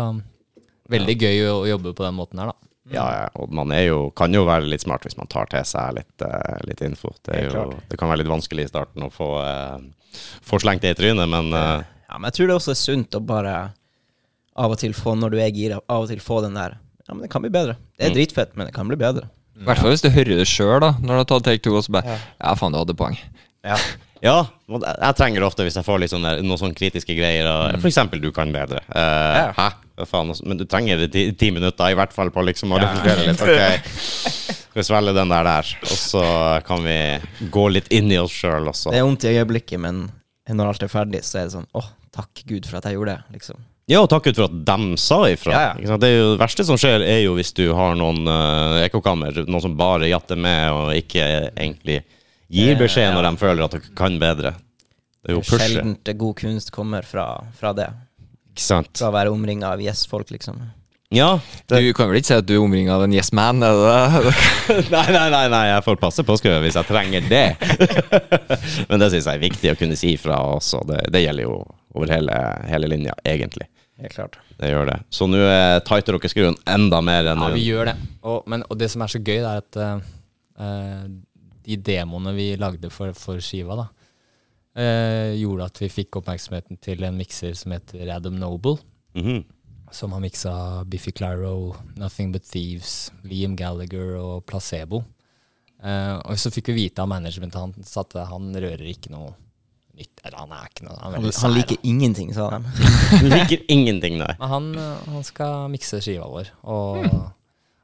veldig gøy å, å jobbe på den måten her, da.
Ja, ja. Og man er jo, kan jo være litt smart hvis man tar til seg litt, eh, litt info. Det, er
Helt
jo,
klart.
det kan være litt vanskelig i starten å få, eh, få slengt det i trynet, men eh,
Ja, Men jeg tror det også er sunt å bare av og til få, når du er gira, av og til få den der Ja, men det kan bli bedre. Det er
Mm.
dritfett, men det kan bli bedre.
I hvert fall hvis du hører det sjøl, da. Når du har tatt take two, og så bare Ja, faen, du hadde poeng.
Ja. men jeg jeg trenger det ofte hvis jeg får litt sånne, noen sånne kritiske greier. Og, For eksempel 'du kan bedre'. Eh,
Mm. Ja.
Hæ? Hva Faen, altså, men du trenger det ti, ti minutter i hvert fall på liksom å reflektere litt. Ok, skal vi svelge den der der, og så kan vi gå litt inn i oss sjøl også.
Det er vondt i øyeblikket, men når alt er ferdig, så er det sånn Åh, takk Gud for at jeg gjorde det, liksom.
Ja, og takk ut for at dem sa ifra.
Ja, ja.
Ikke sant? Det, er jo, det verste som skjer, er jo hvis du har noen eh, ekkokammer, noen som bare jatter med og ikke egentlig gir beskjed når de føler at dere kan bedre. Det er jo pushet.
Sjelden god kunst kommer fra, fra det.
Ikke sant?
Fra å være omringa av yes-folk, liksom.
Ja.
Du kan vel ikke si at du er omringa av en yes man? Er det det?
Nei, nei, nei, nei, jeg får passe på skøyet hvis jeg trenger det. Men det syns jeg er viktig å kunne si fra også. Det, det gjelder jo over hele, hele linja, egentlig.
Helt klart.
Det gjør det. Så nå eh, tighter dere skruen enda mer enn
Ja, vi gjør det. Og, men, og det som er så gøy, det er at eh, eh, de demoene vi lagde for, for skiva, da, eh, gjorde at vi fikk oppmerksomheten til en mikser som heter Adam Noble,
Mhm.
som har miksa Biffy Clyro, Nothing But Thieves, Liam Gallagher og Placebo. Eh, og så fikk vi vite av managementen hans at han rører ikke noe nytt. Eller han er ikke noe Han, er
Han,
veldig sær, da.
liker ingenting, sa de.
Liker ingenting, nei.
Men han, eh, han skal mikse skiva vår og,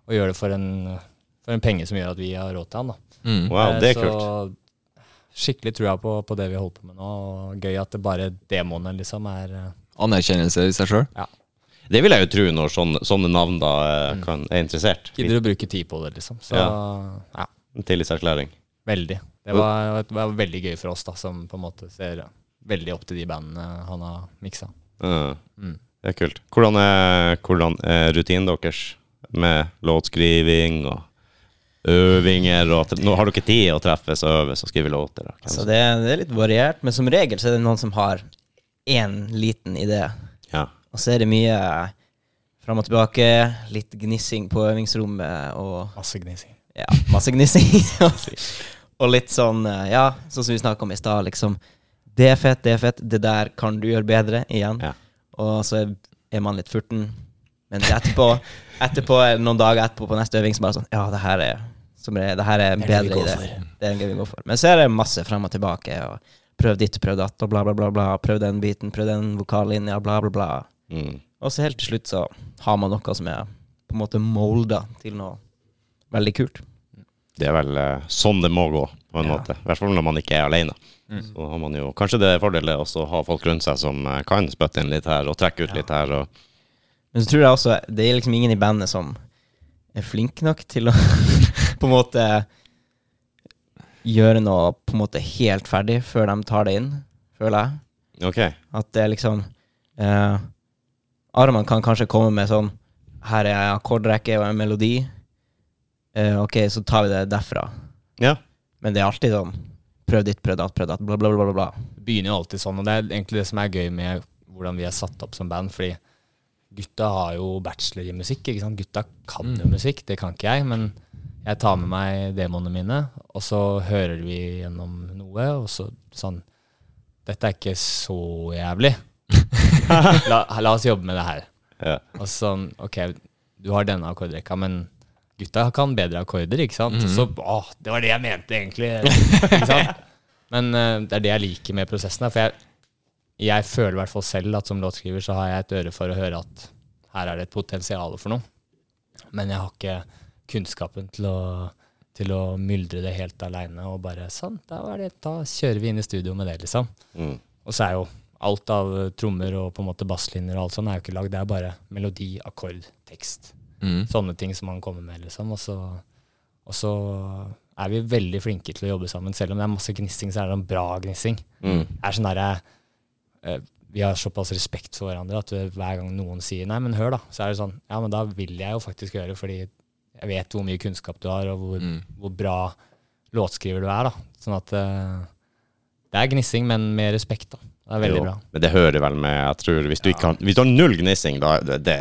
og gjøre det for en, for en penge som gjør at vi har råd til han. Da.
Mm.
Wow, det er
Eh,
kult.
Skikkelig trua på, på det vi holder på med nå. Og gøy at det bare demoene liksom er eh,
Anerkjennelse i seg sjøl.
ja,
Det vil jeg jo tro når sånne, sånne navn da eh, kan, er interessert.
Gidder å bruke tid på det, liksom. Så ja,
Tillitserklæring.
veldig. Det var, det var veldig gøy for oss, da, som på en måte ser veldig opp til de bandene han har miksa.
Ja.
Mm.
Uh, Det er kult. Hvordan er, hvordan er rutinen deres med låtskriving og øvinger? Og, tre- nå har dere tid å treffes og øves og skrive låter. og hvem
Så
som-
det, det er litt variert, men som regel så er det noen som har én liten idé.
Ja.
Og så er det mye Fram og tilbake, litt gnissing på øvingsrommet og
Masse gnissing.
ja, masse gnissing. og litt sånn, eh, ja, sånn som vi snakka om i stad, liksom. Det er fett, det er fett, det der kan du gjøre bedre, igjen.
Ja.
Og så er- er man litt furten. Men etterpå, etterpå eller noen dager etterpå på neste øving, så bare sånn Ja, det her er, som er, det her er
Det er det vi
bedre
går
i det.
for.
Det er det vi går for. Men så er det masse frem og tilbake, og prøv ditt, prøv datt, og bla, bla, bla. bla. Prøv den biten, prøv den vokallinja, bla, bla, bla.
Mm.
Og så helt til slutt så har man noe som er på en måte molda til noe veldig kult.
Det er vel eh, sånn det må gå, på en
Ja.
måte. I hvert fall når man ikke er alene. Så har man jo kanskje det er fordelet også å ha folk rundt seg som eh, kan spytte inn litt her og trekke ut litt her. Og,
Men så tror jeg også Det er liksom ingen i bandet som er flink nok til å på en måte gjøre noe på en måte helt ferdig før de tar det inn, føler jeg.
ok,
At det er liksom eh, Arman kan kanskje komme med sånn Her er en akkordrekke og en melodi. Eh, ok, så tar vi det derfra.
ja.
Men det er alltid sånn Prøv ditt, prøv datt, prøv datt, bla, bla, bla, bla. bla.
Det begynner jo alltid sånn, og det er egentlig det som er gøy med hvordan vi er satt opp som band, fordi gutta har jo bachelor i musikk, ikke sant? Gutta kan jo musikk, det kan ikke jeg, men jeg tar med meg demoene mine, og så hører vi gjennom noe, og så sånn, dette er ikke så jævlig. la, la oss jobbe med det her.
ja.
Og sånn, ok, du har denne akkordrekka, men gutta kan bedre akkorder, ikke sant? Så, åh, det var det jeg mente egentlig. ikke sant? Men eh, det er det jeg liker med prosessen her, for jeg, jeg føler i hvert fall selv at som låtskriver så har jeg et øre for å høre at her er det et potensial for noe. Men jeg har ikke kunnskapen til å, til å myldre det helt aleine og bare sånn, da, var det, da kjører vi inn i studio med det, liksom.
Mm.
Og så er jo alt av trommer og på en måte basslinjer og alt sånt er jo ikke lagd. Det er bare melodi, akkord, tekst.
Mm.
Sånne ting som man kommer med, liksom. Og så, og så er vi veldig flinke til å jobbe sammen. Selv om det er masse gnissing, så er det en bra gnissing.
Mm.
Det er sånn derre eh, Vi har såpass respekt for hverandre at eh, hver gang noen sier 'nei, men hør', da, så er det sånn Ja, men da vil jeg jo faktisk høre, fordi jeg vet hvor mye kunnskap du har, og hvor,
Mm.
hvor bra låtskriver du er, da. Sånn at eh, det er gnissing, men med respekt, da. Det er veldig
Jo,
bra.
Men det hører vel med, jeg tror, hvis du ikke har, hvis du har null gnissing, da det, det,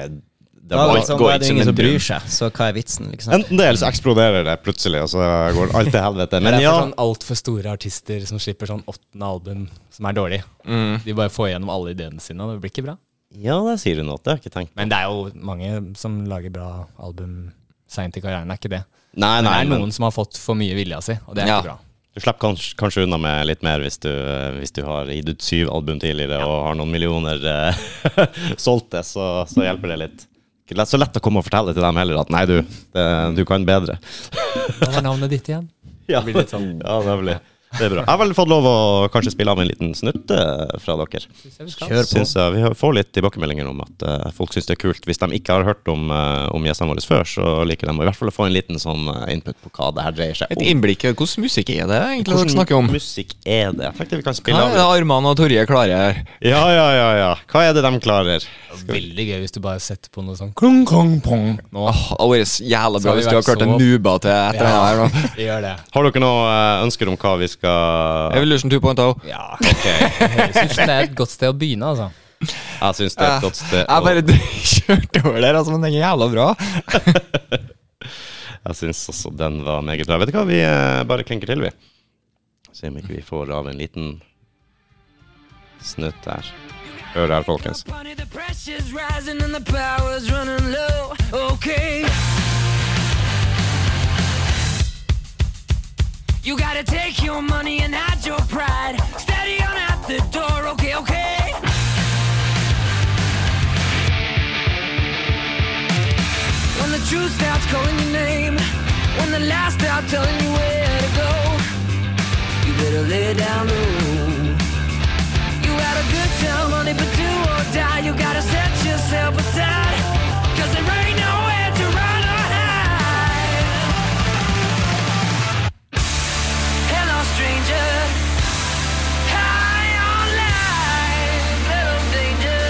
det
Da,
bare
liksom,
går
da er det
ikke som
jo ingen
en
som bryr
drøm.
seg, så hva er vitsen, liksom?
Enten det, eller så eksploderer det plutselig, og så går alt til helvete.
det
Men
er
ja,
for sånn altfor store artister som slipper sånn åttende album som er dårlig. De bare får igjennom alle ideene sine, og det blir ikke bra.
ja, det sier du noe, det har jeg ikke tenkt.
Men det er jo mange som lager bra album seint i karrieren, er ikke det?
Nei,
Men
nei,
det er
men
noen som har fått for mye vilja si, og det er
Ja.
ikke bra.
Du slipper kanskje, kanskje unna med litt mer hvis du, eh, hvis du har gitt ut syv album tidligere og har noen millioner eh, solgte, så, så hjelper det litt. Ikke lett- så lett å komme og fortelle til dem heller at nei, du, det, du kan bedre.
Hva var navnet ditt igjen?
Ja,
blir litt sånn.
ja nemlig. Det er bra. Jeg har vel fått lov å kanskje spille av en liten snutt eh, fra dere.
Synes jeg vi skal.
Kjør på.
Syns jeg, vi har- får litt tilbakemeldinger om at eh, folk syns det er kult. Hvis de ikke har hørt om, eh, om gjestene våre før, så liker de å i hvert fall å få en liten sånn eh, input på hva det her dreier seg
Et
om.
innblikk i hvordan musikk er det egentlig dere snakker om?
Hvordan musikk er det? Jeg tenkte vi kan
Hva
spille av
er det Arman og Torje klarer her?
Ja, ja, ja, ja. Hva er det de klarer?
Veldig gøy hvis du bare setter på noe sånn klung, klung, pong. Nå
Åh, det hadde vært jævla
Så
bra
har
hvis
vi
du hadde
vært
klart en
så-
nuba til et eller annet her nå.
vi gjør det.
Har dere noen eh, ønsker om hva vi skal
Evolution 2.0.
Ja, ok. Høres ut som det er et godt sted å begynne, altså.
Jeg syns det er et godt sted
Jeg
å
bare kjørte over der, altså, men den er jævla bra.
Jeg syns også den var meget bra. Vet du hva, vi eh, bare klinker til, vi. Se om ikke vi får av en liten snutt der. Hør her, folkens.
Party, the pressure's rising and the power's running low. Okay. You gotta take your money and hide your pride. Steady on out the door, okay, okay. When the truth starts calling your name, when the lies start telling you where to go, you better lay down low. You had a good time, honey, but do or die. You gotta set yourself aside. Cause there ain't nowhere to run or hide. Hello, stranger. High on life. Hello, danger.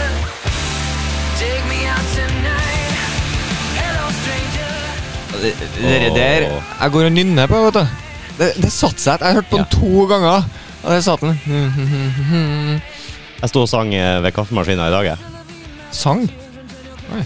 Take me out tonight. Hello, stranger.
Det det der Jeg går og nynner på, vet du. Det, det satte seg. Jeg hørte på den to ganger, og der satt den. Mm.
Jeg sto og sang eh, ved kaffemaskina i dag, jeg.
Sang.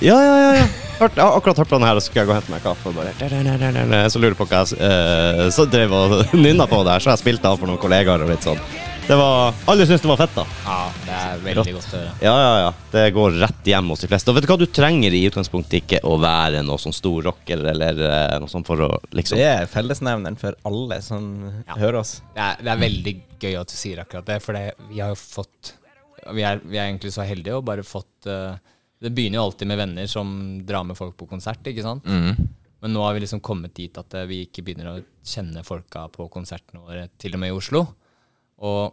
Ja, ja, ja. ja. Hørt, ja, akkurat hørt på den her, og så skal jeg gå og hente meg kaffe. Og bare, så lurer jeg på hva jeg eh, Så drev og nynna på det her, så jeg spilte av for noen kollegaer og litt sånn. Det var, Alle syntes det var fett, da.
Ja, det er veldig godt å høre.
Ja, ja, ja. Det går rett hjem hos de fleste. Og vet du hva, du trenger i utgangspunktet ikke å være noe sånn stor rocker eller eh, noe sånt for å liksom
Det er fellesnevneren for alle som hører oss.
Det er, det er veldig gøy at du sier akkurat det, for det, vi har jo fått vi er, vi er egentlig så heldige og bare fått eh, Det begynner jo alltid med venner som drar med folk på konsert, ikke sant? Men nå har vi liksom kommet dit at eh, vi ikke begynner å kjenne folka på konsertene våre, til og med i Oslo. Og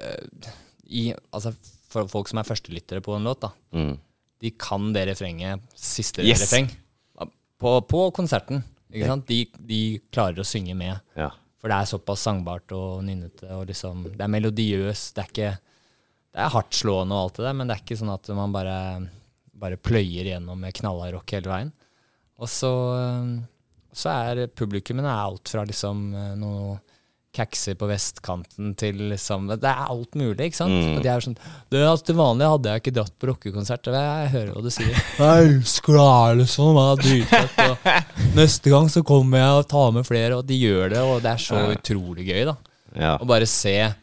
eh, i, altså, for folk som er førstelyttere på en låt, da,
Mm.
de kan det refrenget, siste
Yes.
refreng, på, på konserten. Ikke sant? De, de klarer å synge med.
Ja.
For det er såpass sangbart og nynnete. og liksom, Det er melodiøst. Det er ikke det er hardtslående og alt det der, men det er ikke sånn at man bare, bare pløyer gjennom med knallhard rock hele veien. Og så, øhm, så er publikummet er alt fra liksom øh, noe kakser på vestkanten til liksom Det er alt mulig, ikke sant? Og de er sånn det, er altså, Til vanlig hadde jeg ikke dratt på rockekonsert. det er- Jeg hører hva du sier. Jeg elsker deg, liksom. Jeg er dritfett. og- Neste gang så kommer jeg og tar med flere, og de gjør det, og det er så utrolig gøy, da.
ja.
Å bare se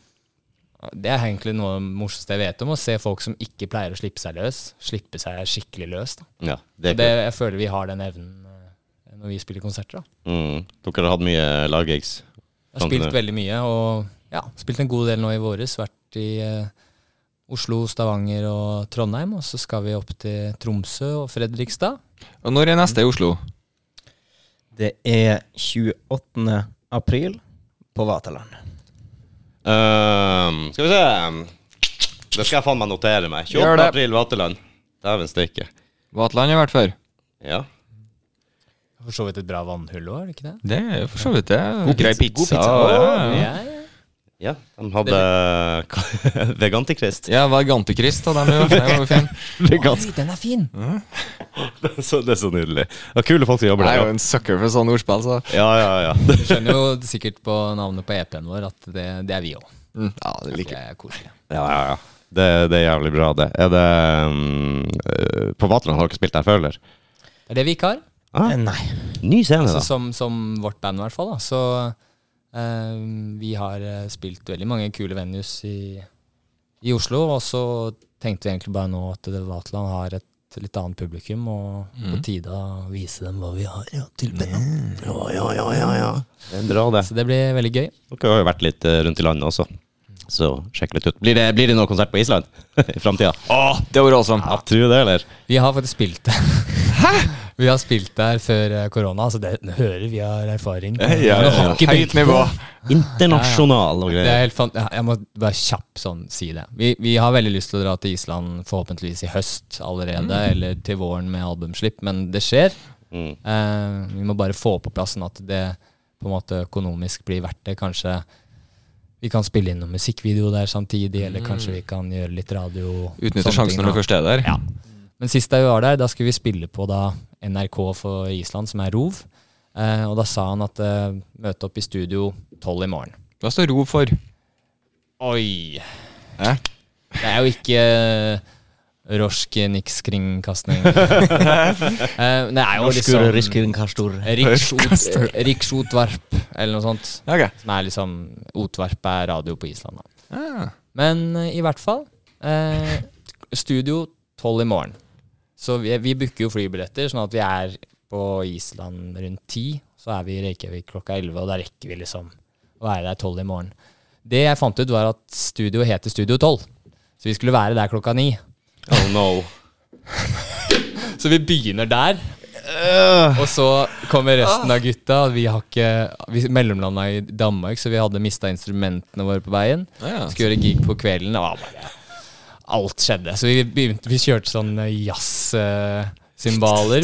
Det er egentlig noe av det morsomste jeg vet om, å se folk som ikke pleier å slippe seg løs, slippe seg skikkelig løs. Da.
ja. Det er
Det,
kult.
jeg føler vi har den evnen eh, når vi spiller konserter. Da.
Mm. Dere har hatt mye laggigs. Sånn
Jeg har spilt veldig mye, og ja, spilt en god del nå i våres. Vært i eh, Oslo, Stavanger og Trondheim, og så skal vi opp til Tromsø og Fredrikstad.
Og når er neste i Oslo?
Det er 28. april på Vaterland.
Ehm, skal vi se Det skal jeg faen meg notere meg.
Gjør
28.
det.
april, Vaterland. Dæven steike.
Vatland har vært før.
Ja.
For så vidt et bra vannhull òg, er det ikke det?
Det er for så vidt det. God
Grei pizza. ja, ja.
Ja, ja.
ja, de hadde Vegantikrist.
Ja, hva er Gantekrist, da? Den er jo- den er jo fin.
Vegansk.
Oi, den er fin!
Så, det er så nydelig. Det er kule folk som jobber
Jeg er jo
der.
en sucker for sånne ordspill, så
Ja, ja, ja. ja.
Du skjønner jo sikkert på navnet på EP-en vår at det, det er vi òg.
mm, Ja, det liker jeg.
Det er koselig.
ja, ja, ja. Det, det er jævlig bra, det. Er det um, eh, På Vaterland har dere spilt der før, eller?
Det er det vi ikke har.
Ah,
Eh, Nei.
ny scene, da.
Altså, som, som vårt band, i hvert fall. Da. Så eh, vi har eh, spilt veldig mange kule venues i, i Oslo. Og så tenkte vi egentlig bare nå at det- Vaterland har et litt annet publikum, og på
Mm.
tide å vise dem hva vi har å tilby.
Det er bra, det.
Så det blir veldig gøy.
Dere har jo vært litt eh, rundt i landet også. Så sjekk litt ut. Blir det, blir det noen konsert på Island i framtida?
Åh, det var awesome.
Ja, tror det, eller?
Vi har faktisk spilt der. Vi har spilt der før eh, korona, så det hører vi har erfaring.
ja,
Det har
ja.
ikke
Høyt
begynt på.
nivå.
Internasjonal og
Det er
greier.
helt fan jeg må bare kjapt sånn si det. Vi, vi har veldig lyst til å dra til Island forhåpentligvis i høst allerede, eller til våren med albumslipp, men det skjer.
Mm.
Eh, vi må bare få på plass sånn at det på en måte økonomisk blir verdt det. Kanskje vi kan spille inn noen musikkvideo der samtidig, eller kanskje vi kan gjøre litt radio.
Utnytter
sånne
sjansen
ting,
når du
da.
først er der.
Ja. Men sist jeg var der, da skulle vi spille på da NRK for Island, som er Rov. Eh, og da sa han at eh, møte opp i studio tolv i morgen.
Hva står ro for?
Oi!
Hæ?
Det er jo ikke eh, Rosk Nix-kringkasting. Eh, det er jo liksom Riksot- Riksotvarp, eller noe sånt.
Ok.
Som er liksom Otvarp er radio på Island. Da.
Ah.
Men eh, i hvert fall eh, Studio tolv i morgen. Så vi, vi booker jo flybilletter, sånn at vi er på Island rundt ti. Så er vi i Reykjavik klokka elleve, og da rekker vi liksom å være der tolv i morgen. Det jeg fant ut, var at studio heter Studio tolv. Så vi skulle være der klokka ni.
Oh no.
Så vi begynner der. Og så kommer resten av gutta. Vi har ikke Vi mellomlanda i Danmark, så vi hadde mista instrumentene våre på veien.
Ja.
Skulle gjøre gig på kvelden. Og bare, alt skjedde. Så vi, begynte, vi kjørte sånn jazz-cymbaler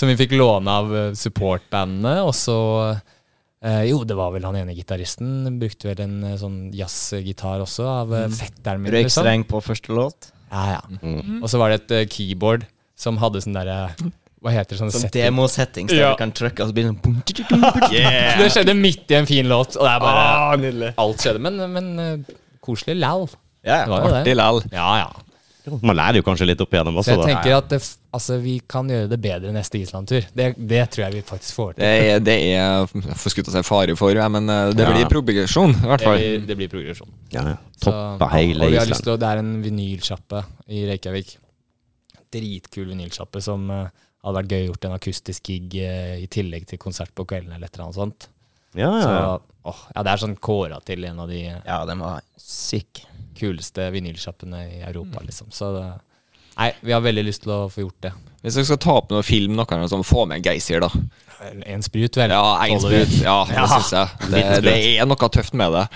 som vi fikk låne av eh, supportbandene. Og så eh, Jo, det var vel han ene gitaristen. Brukte vel en eh, sånn jazzgitar også, av eh, fetteren min. liksom.
Røykstreng på første låt.
Ja, ja. Og så var det et eh, keyboard som hadde sånn derre Hva heter det? Sånn
Som
setting.
demosettings der
Ja.
du kan trykke, og så blir det sånn
Det skjedde midt i en fin låt, og det er bare Alt skjedde. Men, men eh, koselig lal. Det
Ja, ja.
var jo det.
Artig lal.
Ja, ja.
Man lærer jo kanskje litt opp igjennom
Så
også.
jeg
da.
tenker at det, f- altså, vi kan gjøre det bedre neste Island-tur. Det, det tror jeg vi faktisk får til.
Det er, det er jeg får skutt å si fare for, ja, men eh, det
Ja.
blir progresjon, i hvert fall.
blir, blir progresjon.
Ja, ja.
Så-
Toppa hele
og vi har lyst
Island.
til å, Det er en vinylsjappe i Reykjavik. Dritkul vinylsjappe som eh, hadde vært gøy å gjort en akustisk gig eh, i tillegg til konsert på kvelden eller et eller annet sånt.
Ja, ja,
Så,
ja.
åh, ja, det er sånn kåra til en av de
Ja, den var sick.
kuleste vinylsjappene i
Mm.
Europa, liksom. Så det, nei, vi har veldig lyst til å få gjort det.
Hvis dere skal ta opp noe film, noe, eller noe sånt, få med en geysir, da.
En sprut, vel?
Ja, egen
Tåler vi.
sprut. Ja, det syns jeg. Det,
Liten sprut.
det er noe tøft med det.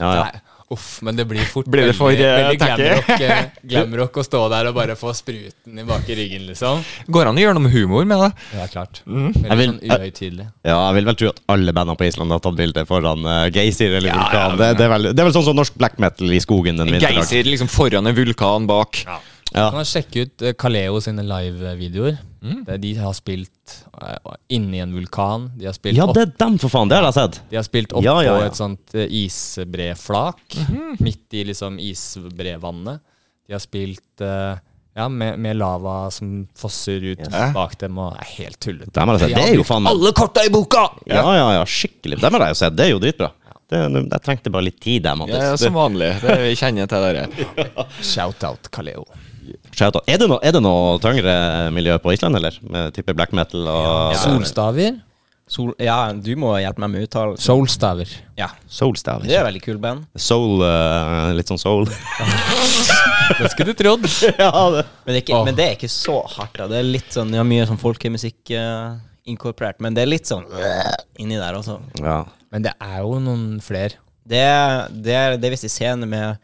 ja, ja.
Nei, uff, men det blir fort
Blir det for,
veldig,
eh,
veldig
tacky?
glamrock, eh, glamrock å stå der og bare få spruten i bak i ryggen, liksom.
Går an å gjøre noe med humor med det.
Ja, klart.
Jeg
Mm.
Veldig
vil-
sånn uhøytidelig.
Ja, jeg vil vel tro at alle bandene på Island har tatt bilde foran eh, Geysir eller
Ja,
Vulkan.
ja, men-
det, det, er vel, det er vel sånn som norsk black metal i skogen en
En
vinterdag.
geysir liksom foran en vulkan bak.
Ja.
Kan man sjekke ut eh, Kaleo sine live-videoer.
Mm.
Det- De har spilt eh, inni en vulkan. De har spilt,
ja,
opp,
det er dem, for faen! Det har jeg sett.
de har spilt opp
Ja, ja, ja.
på et sånt eh, isbreflak, midt i liksom isbrevannet. De har spilt eh, ja, med, med lava som fosser ut bak dem, og det er helt tullete.
Dem har jeg sett. Det er jo faen meg
Alle korta i boka!
Ja, ja, ja, skikkelig. Dem har jeg jo sett. Det er jo dritbra. Det, det- jeg trengte bare litt tid, der,
Ja,
Mattis.
som vanlig. Det vi kjenner til dere.
Shout-out Kaleo.
Shout out. Er det noe, er det noe tyngre miljø på Island, eller? Med type black metal og
Solstaver.
Sol, ja, du må hjelpe meg med uttalelsen.
Soulstaver.
Ja.
Soulstav.
Det er veldig kul band.
Soul eh, Litt sånn soul.
Det skulle du trodd.
ja, det.
Men det, er ikke,
Åh.
men det er ikke så hardt. da. Det er litt sånn, ja, mye sånn folkemusikk eh, inkorporert, men det er litt sånn inni der også.
ja.
Men det er jo noen flere.
Det, er- det, er- det er visst en scene med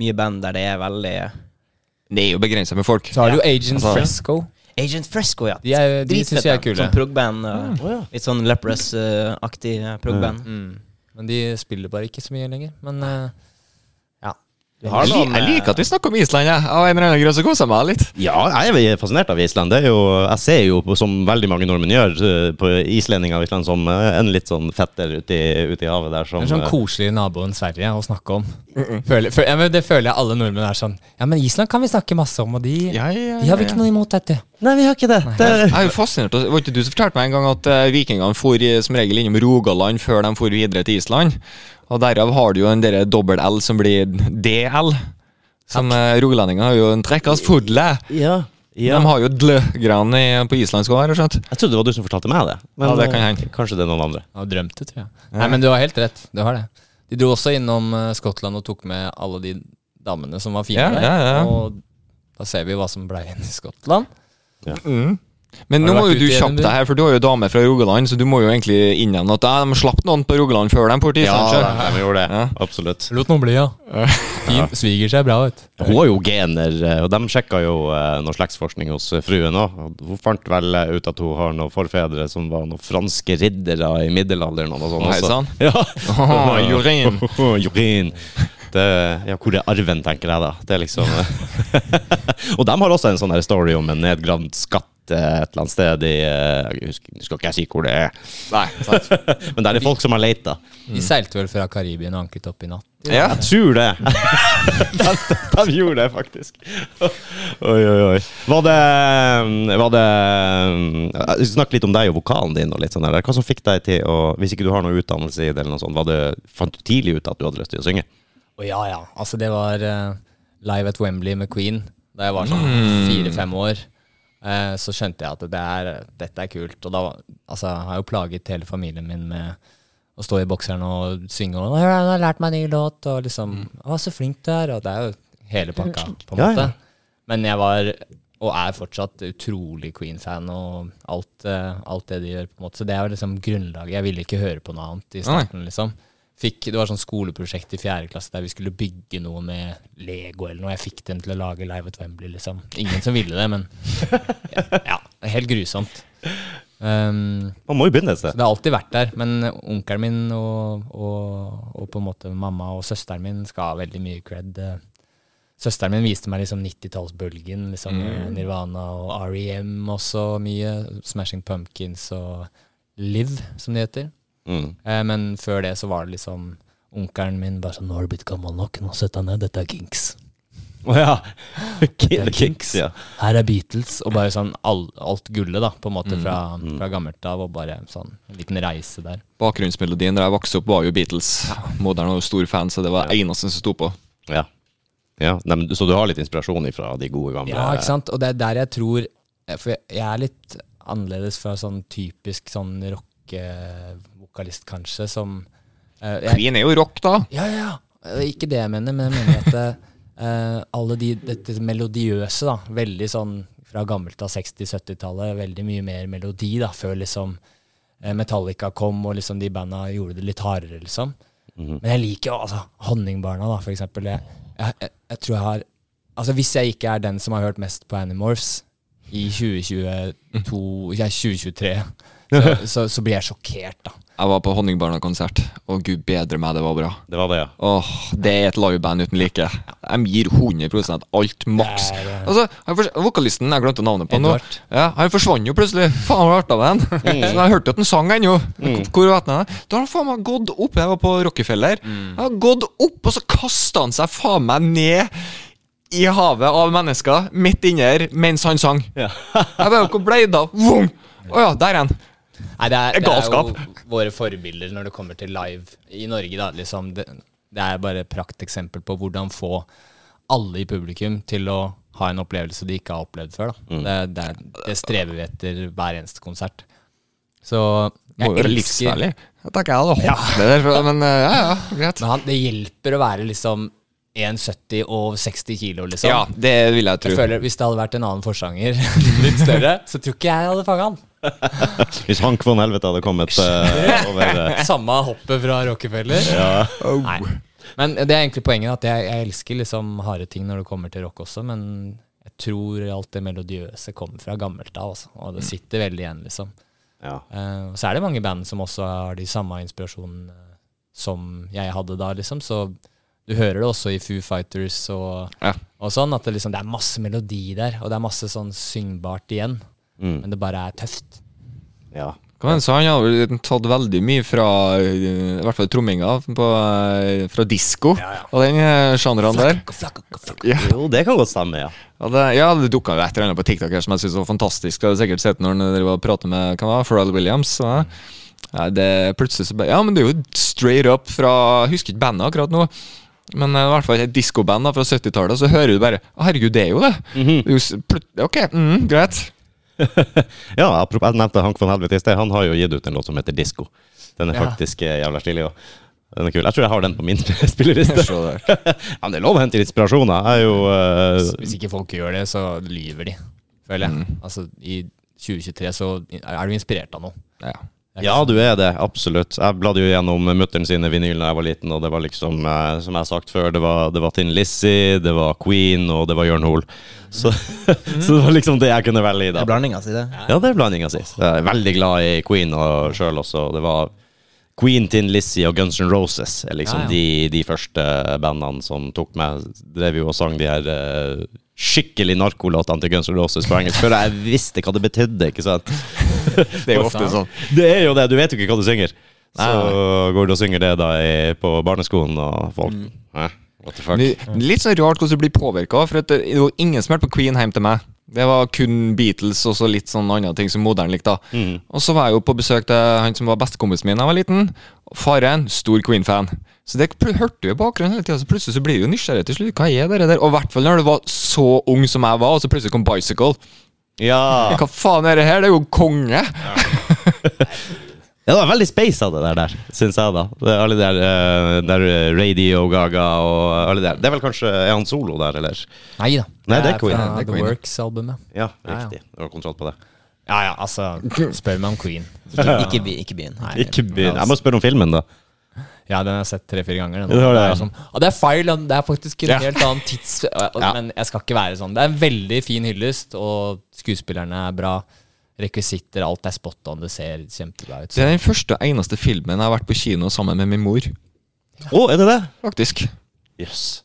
mye band der det er veldig
Det er jo begrensa med folk.
Så har du jo Agent
Altså-
Fresco.
Agent Fresco, ja.
De er- de
Dritfett
synes jeg er
band.
kule.
Sånn prog-band. eh,
Ah,
Litt sånn Leprous-aktig uh, prog-band.
Mm. Men de spiller bare ikke så mye lenger. Men eh, ja.
har
Jeg,
noen,
li- jeg
eh,
liker at vi snakker om Island, jeg. Av en eller annen grunn så koser jeg meg litt.
Ja, jeg er fascinert av Island. Det er jo, jeg ser jo, på- som veldig mange nordmenn gjør, eh, på islendinger av Island som eh, en litt sånn fetter ute i, ute i havet der som
Det er sånn
eh,
koselig naboen Sverige å snakke om. Føler, føl- ja, men det føler jeg alle nordmenn er sånn. Ja, men Island kan vi snakke masse om, og de,
Ja, ja,
de har vi
ja,
ikke noe imot, vet du.
Nei, vi har ikke det. det
Jeg er jo fascinert. og- Var ikke du som fortalte meg en gang at eh, vikingene for eh, som regel innom Rogaland før de for videre til Island? Og derav har du jo en derre dobbel-L som blir DL. Som eh, rogalendingene har jo en trekkas fodle.
ja, ja.
De har jo dlø-gran i- på islandsk òg, har jeg skjønt.
eh, Jeg trodde det var du som fortalte meg det.
Ja, det
eh,
kan hende.
Kanskje det er noen andre.
Jeg har drømt det, tror jeg. Nei, men du har helt rett. Du har det. De dro også innom eh, Skottland og tok med alle de damene som var fine
Ja,
der.
ja, ja.
Og da ser vi hva som ble igjen i Skottland.
Men
Har
nå
du
må
vært
jo du
ute i
kjappe deg
Edinburgh?
her, for du har jo dame fra Rogaland, så du må jo egentlig innevne at ja, de slapp noen på Rogaland før de for til Island. sjøl.
da, vi gjorde det. Absolutt.
Lot noen bli, ja. Fin, sviger seg bra ut.
Hun har jo gener, eh, og de sjekka jo eh, noe slektsforskning hos eh, fruen òg. Hun fant vel eh, ut at hun har noen forfedre som var noen franske riddere i middelalderen. og noe sånt
Hei,
også.
sann.
Ja.
Åh, Jorin.
Jorin. Det, ja, hvor er arven, tenker jeg da. Det er liksom Og de har også en sånn her story om en nedgravd skatt eh, et eller annet sted i eh, Jeg husker, nå skal ikke jeg si hvor det er,
Nei, sant.
men der er det folk som har leita.
De seilte vel fra Karibien og anket opp i natt.
Ja.
Jeg tror det. de, de, de gjorde det, faktisk. Oi, oi, oi. Var det, var det Snakk litt om deg og vokalen din. og litt sånn der. Hva som fikk deg til å Hvis ikke du har noe utdannelse i det, eller noe sånt, var det, fant du tidlig ut at du hadde lyst til å synge?
Å ja, ja. Altså, det var eh, live at Wembley med Queen da jeg var sånn
Mm.
fire-fem år. Eh, så skjønte jeg at det er, dette er kult. Og da var- altså, jeg har jeg jo plaget hele familien min med å stå i bokseren og synge og 'Hør, han har lært meg en ny låt', og liksom 'Å, så flink du er', og det er jo hele pakka, på en
Ja,
måte.
Mm. ja.
Men jeg var, og er fortsatt, utrolig Queen-fan og alt, eh, alt det de gjør, på en måte. Så det er jo liksom grunnlaget. Jeg ville ikke høre på noe annet i
Nei.
starten, liksom. Fikk, det var sånn skoleprosjekt i fjerde klasse der vi skulle bygge noe med Lego eller noe. Jeg fikk dem til å lage Live at Wembley, liksom. Ingen som ville det, men ja, det er helt grusomt. Um,
Man må jo begynne et
så
sted.
det har alltid vært der, men onkelen min og, og, og på en måte mamma og søsteren min skal ha veldig mye cred. Søsteren min viste meg liksom 90-tallsbølgen, liksom
Mm.
Nirvana og R.E.M. også mye. Smashing Pumpkins og Liv, som det heter.
Mm.
Eh, men før det så var det liksom onkelen min bare sånn 'Nå har du blitt gammel nok, nå sett deg ned, dette er Kinks'.
Å ja. Ki- Kicks,
Kings.
ja.
Her er Beatles, og bare sånn all, alt gullet, da, på en
Mm.
måte, fra, fra gammelt av, og bare sånn en liten reise der.
Bakgrunnsmelodien da jeg vokste opp, var jo Beatles. Modern var jo stor fan, så det var det eneste som sto på.
ja. ja. Nei, men, du- så du har litt inspirasjon ifra de gode gamle
Ja, ikke sant? Og det er der jeg tror eh, For jeg- jeg er litt annerledes fra sånn typisk sånn rockevokalist, kanskje, som eh, jeg,
Queen er jo rock, da.
Ja, ja, ja. Eh, Ikke det jeg mener, men jeg mener at eh, alle de dette melodiøse, da, veldig sånn fra gammelt av 60-70-tallet, veldig mye mer melodi da, før liksom eh, Metallica kom og liksom de banda gjorde det litt hardere, liksom. Men jeg liker jo altså, Honningbarna, da, for eksempel. Jeg, jeg, jeg, jeg tror jeg har Altså, hvis jeg ikke er den som har hørt mest på Animorphs i 2022 Ja, 2023, så, så, så blir jeg sjokkert, da.
Jeg var på Honningbarna-konsert, og gud bedre meg, det var bra.
Det var det, ja.
Åh, Det er et liveband uten like. De gir 100 alt, maks.
Det er det.
Altså, han fors- Vokalisten jeg glemte navnet på nå,
Edvard. Mm.
ja, han forsvant jo plutselig. Faen, hvor artig av den. Så Jeg hørte jo at han sang ennå. Hvor var den? Da har han faen meg gått opp. Jeg var på Rockefeller.
Mm.
Han har gått opp, og så kasta han seg faen meg ned i havet av mennesker, midt inni her, mens han sang. jeg bare, Hvor ble det av? Vum! Å ja, der er han.
Nei, det er,
Det er galskap.
Det er jo våre forbilder når det kommer til live i Norge. Da. Liksom, det, det er bare et prakteksempel på hvordan få alle i publikum til å ha en opplevelse de ikke har opplevd før. Da.
Mm.
Det, det, er- det strever vi etter hver eneste konsert. Så
Må jo
jeg
være
elsker
livsfarlig. Jeg tenker jeg hadde holdt det der, for- men eh, ja, ja, greit.
Men han, det hjelper å være liksom 1,70 og 60 kilo, liksom.
Ja, det vil jeg
Jeg
tro.
føler Hvis det hadde vært en annen forsanger, litt større, så tror ikke jeg hadde fanga han.
Hvis Hank von Helvete hadde kommet eh, over eh,
Samme hoppet fra Rockefeller. Nei. Men det er egentlig poenget, at jeg, jeg elsker liksom harde ting når det kommer til rock også, men jeg tror alt det melodiøse kommer fra gammelt av, altså. Og det sitter veldig igjen, liksom.
ja.
Eh, og så er det mange band som også har de samme inspirasjonene som jeg hadde da, liksom. Så du hører det også i Foo Fighters og,
Ja.
og sånn, at det, liksom, det er masse melodi der, og det er masse sånn syngbart igjen. Men det bare er tøft.
ja.
Hva var det han sa? Han har vel tatt veldig mye fra eh, I hvert fall tromminga på, eh, fra disko og den eh, sjangeren der.
Jo, det kan godt stemme, ja.
Og det, ja, det dukka jo et eller annet på TikTok her som jeg synes var fantastisk. Det har du sikkert sett når han driver og prater med hva var det, Pharrell Williams. Så, ja, det, plutselig så bare Ja, men det er jo straight up fra Jeg husker ikke bandet akkurat nå. Men eh, i hvert fall et diskoband da, fra 70-tallet, så hører du bare Å, herregud, det er jo det. det er jo, s- plut- ok, mm, greit.
Ja, apropos, jeg nevnte Hank von Helvete i sted. Han har jo gitt ut en låt som heter Disko. Den er
Ja.
faktisk eh, jævla stilig. og Den er kul. Jeg tror jeg har den på min spillerliste.
Se der.
ja, men det er lov å hente inspirasjon. da. Jeg er jo eh,
Hvis ikke folk gjør det, så lyver de, føler jeg. Altså, i 2023 så er du inspirert av noe.
Ja.
Ja, du er det. Absolutt. Jeg bladde jo gjennom mutter'n sine vinyl da jeg var liten, og det var liksom, eh, som jeg har sagt før, det var, det var Tin Lizzie, det var Queen, og det var Jørn Hoel. Så, så det var liksom det jeg kunne velge i,
Det
da.
er blandinga si, det.
Ja, det er blandinga si. Så Jeg er veldig glad i Queen og sjøl også. Det var Queen, Tin Lizzie og Guns N' Roses er liksom
Ja, ja.
De, de første bandene som tok meg Drev jo og sang de her eh, skikkelig narkolåtene til Guns N' Roses på engelsk før jeg visste hva det betydde, ikke sant?
Det er jo ofte sånn.
Det er jo det, du vet jo ikke hva du synger. Så går du og synger det da i, på barneskolen, og folk
Mm.
Hæ? What the fuck?
Det det er litt sånn rart hvordan du blir påvirka, for at det det var ingen som hørte på Queen hjemme til meg. Det var kun Beatles og så litt sånn andre ting som moderne likte. da. Og så var jeg jo på besøk til han som var bestekompisen min da jeg var liten. Faren, stor Queen-fan. Så det pl- hørte vi i bakgrunnen hele tida, så plutselig så blir du jo nysgjerrig til slutt. Hva er det der? Og i hvert fall når du var så ung som jeg var, og så plutselig kom Bicycle.
Ja.
Hva faen er det her? Det er jo konge!
Ja, det var veldig space av det der, der syns jeg, da. Det er alle de der, eh, der eh, Radio Gaga og alle de der. Det er vel kanskje Er han solo der, eller?
Nei da.
Nei, det er Queen.
fra
Det
er
The
Queen.
Works-albumet.
Ja,
Ja, ja.
riktig. Du har kontroll på det.
Ja, ja, altså, spør meg om Queen.
Ikke, ikke, by, ikke byen. Nei.
Ikke begynn. Jeg må spørre om filmen, da.
Ja, den har jeg sett tre-fire ganger. Den.
Ja, det var det,
er
ja.
sånn, «Å, det er feil, den- det er faktisk en
Ja.
helt annen tids... og-
Ja.
Men jeg skal ikke være sånn. Det er en veldig fin hyllest, og skuespillerne er bra. Rekvisitter, alt er spot on, det ser kjempebra ut.
Det er den første og eneste filmen jeg har vært på kino sammen med min mor,
Å, er det det?
faktisk.
Jøss.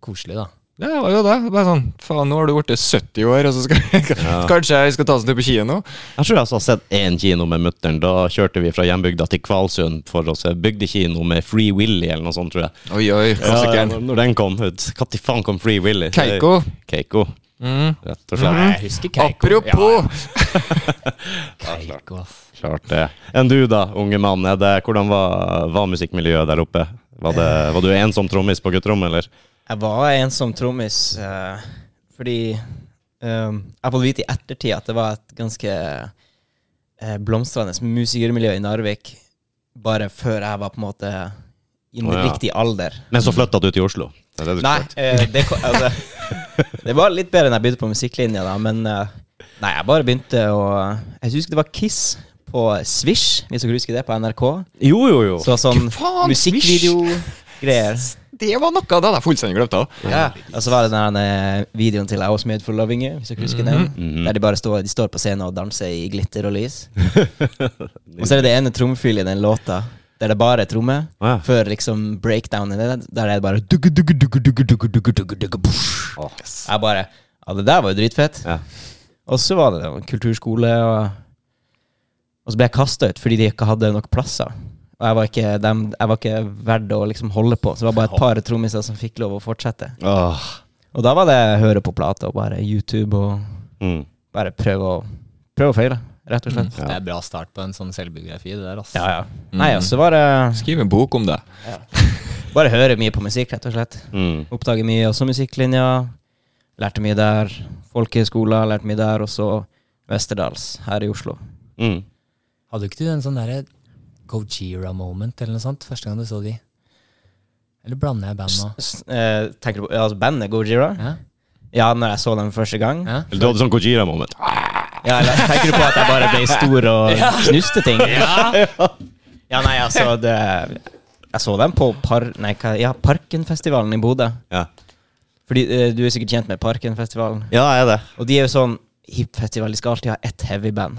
Koselig, da.
Ja, det var jo det. Bare sånn, faen, nå har du blitt 70 år, og så skal
Ja.
Kanskje jeg skal ta oss en tur på kino?
Jeg tror jeg altså har sett én kino med mutter'n. Da kjørte vi fra hjembygda til Kvalsund for å se bygdekino med Free Willy eller noe sånt, tror jeg.
Oi, oi,
Ja,
klassikeren.
når den kom ut. Når faen kom Free Willy?
Keiko.
Keiko,
Mm.
rett og slett.
Nei, jeg husker Keiko.
Apropos!
Ja, ja, Keiko, ass.
Klart det. Enn du da, unge mann. Er det, hvordan var, var musikkmiljøet der oppe? Var, det, var du ensom trommis på gutterommet, eller?
Jeg var ensom trommis eh, fordi eh, Jeg har fått vite i ettertid at det var et ganske eh, blomstrende musikermiljø i Narvik bare før jeg var på en måte i
Å,
oh,
ja.
riktig alder.
Men så flytta du til Oslo. Det er det du
Nei,
skal si.
eh, det, ko- altså, det var litt bedre enn jeg begynte på musikklinja, da, men eh, Nei, jeg bare begynte å Jeg husker det var Kiss på Swish, hvis dere husker det, på NRK.
Jo, jo, jo.
Så sånn
faen,
musikkvideogreier.
Det var noe, det hadde jeg fullstendig glemt av.
Ja. Og så var det den her, eh, videoen til I Was Made for Loving You, hvis dere husker den.
Mhm.
Der de bare står, de står på scenen og danser i glitter og lys. og så er det det ene trommefilet i den låta der det bare er tromme,
Å ja.
før liksom breakdownen er der. Der er det bare dugge, dugge, dugge, dugge, dugge, dugge, dugge, dugge, bush.
Åh.
Jeg bare Ja, det der var jo dritfett.
Ja.
Og så var det jo en kulturskole, og, og så ble jeg kasta ut fordi de ikke hadde nok plasser. Og jeg var ikke, dem, jeg var ikke verdt å liksom holde på. Så det var bare et par trommiser som fikk lov å fortsette.
Åh.
Og da var det høre på plate og bare YouTube og
Mm.
bare prøve å, prøve å feile, rett og slett.
Ja.
Det er bra start på en sånn selvbiografi, det der, ass.
Ja, ja. Nei, altså bare,
Skriv en bok om det.
bare høre mye på musikk, rett og slett.
Mm.
Oppdage mye også musikklinja. Lærte mye der. Folkehøyskoler, lærte mye der. Og så Westerdals her i Oslo.
Mm.
Hadde ikke du en sånn derre Gojira-moment eller noe sånt første gang du så de? Eller blander jeg band nå?
S- eh, tenker du på altså bandet Gojira?
Ja?
Ja, når jeg så dem første gang.
Ja?
Eller Du hadde sånn Gojira-moment.
Ja, eller tenker du på at jeg bare ble stor og knuste ting? Ja, nei, altså det, Jeg så dem på par, nei, hva, ja, Parkenfestivalen i Bodø.
Ja.
Fordi eh, Du er sikkert kjent med Parkenfestivalen.
ja, jeg er det.
Og de er jo sånn hip-festival. De skal alltid ha ett heavy-band.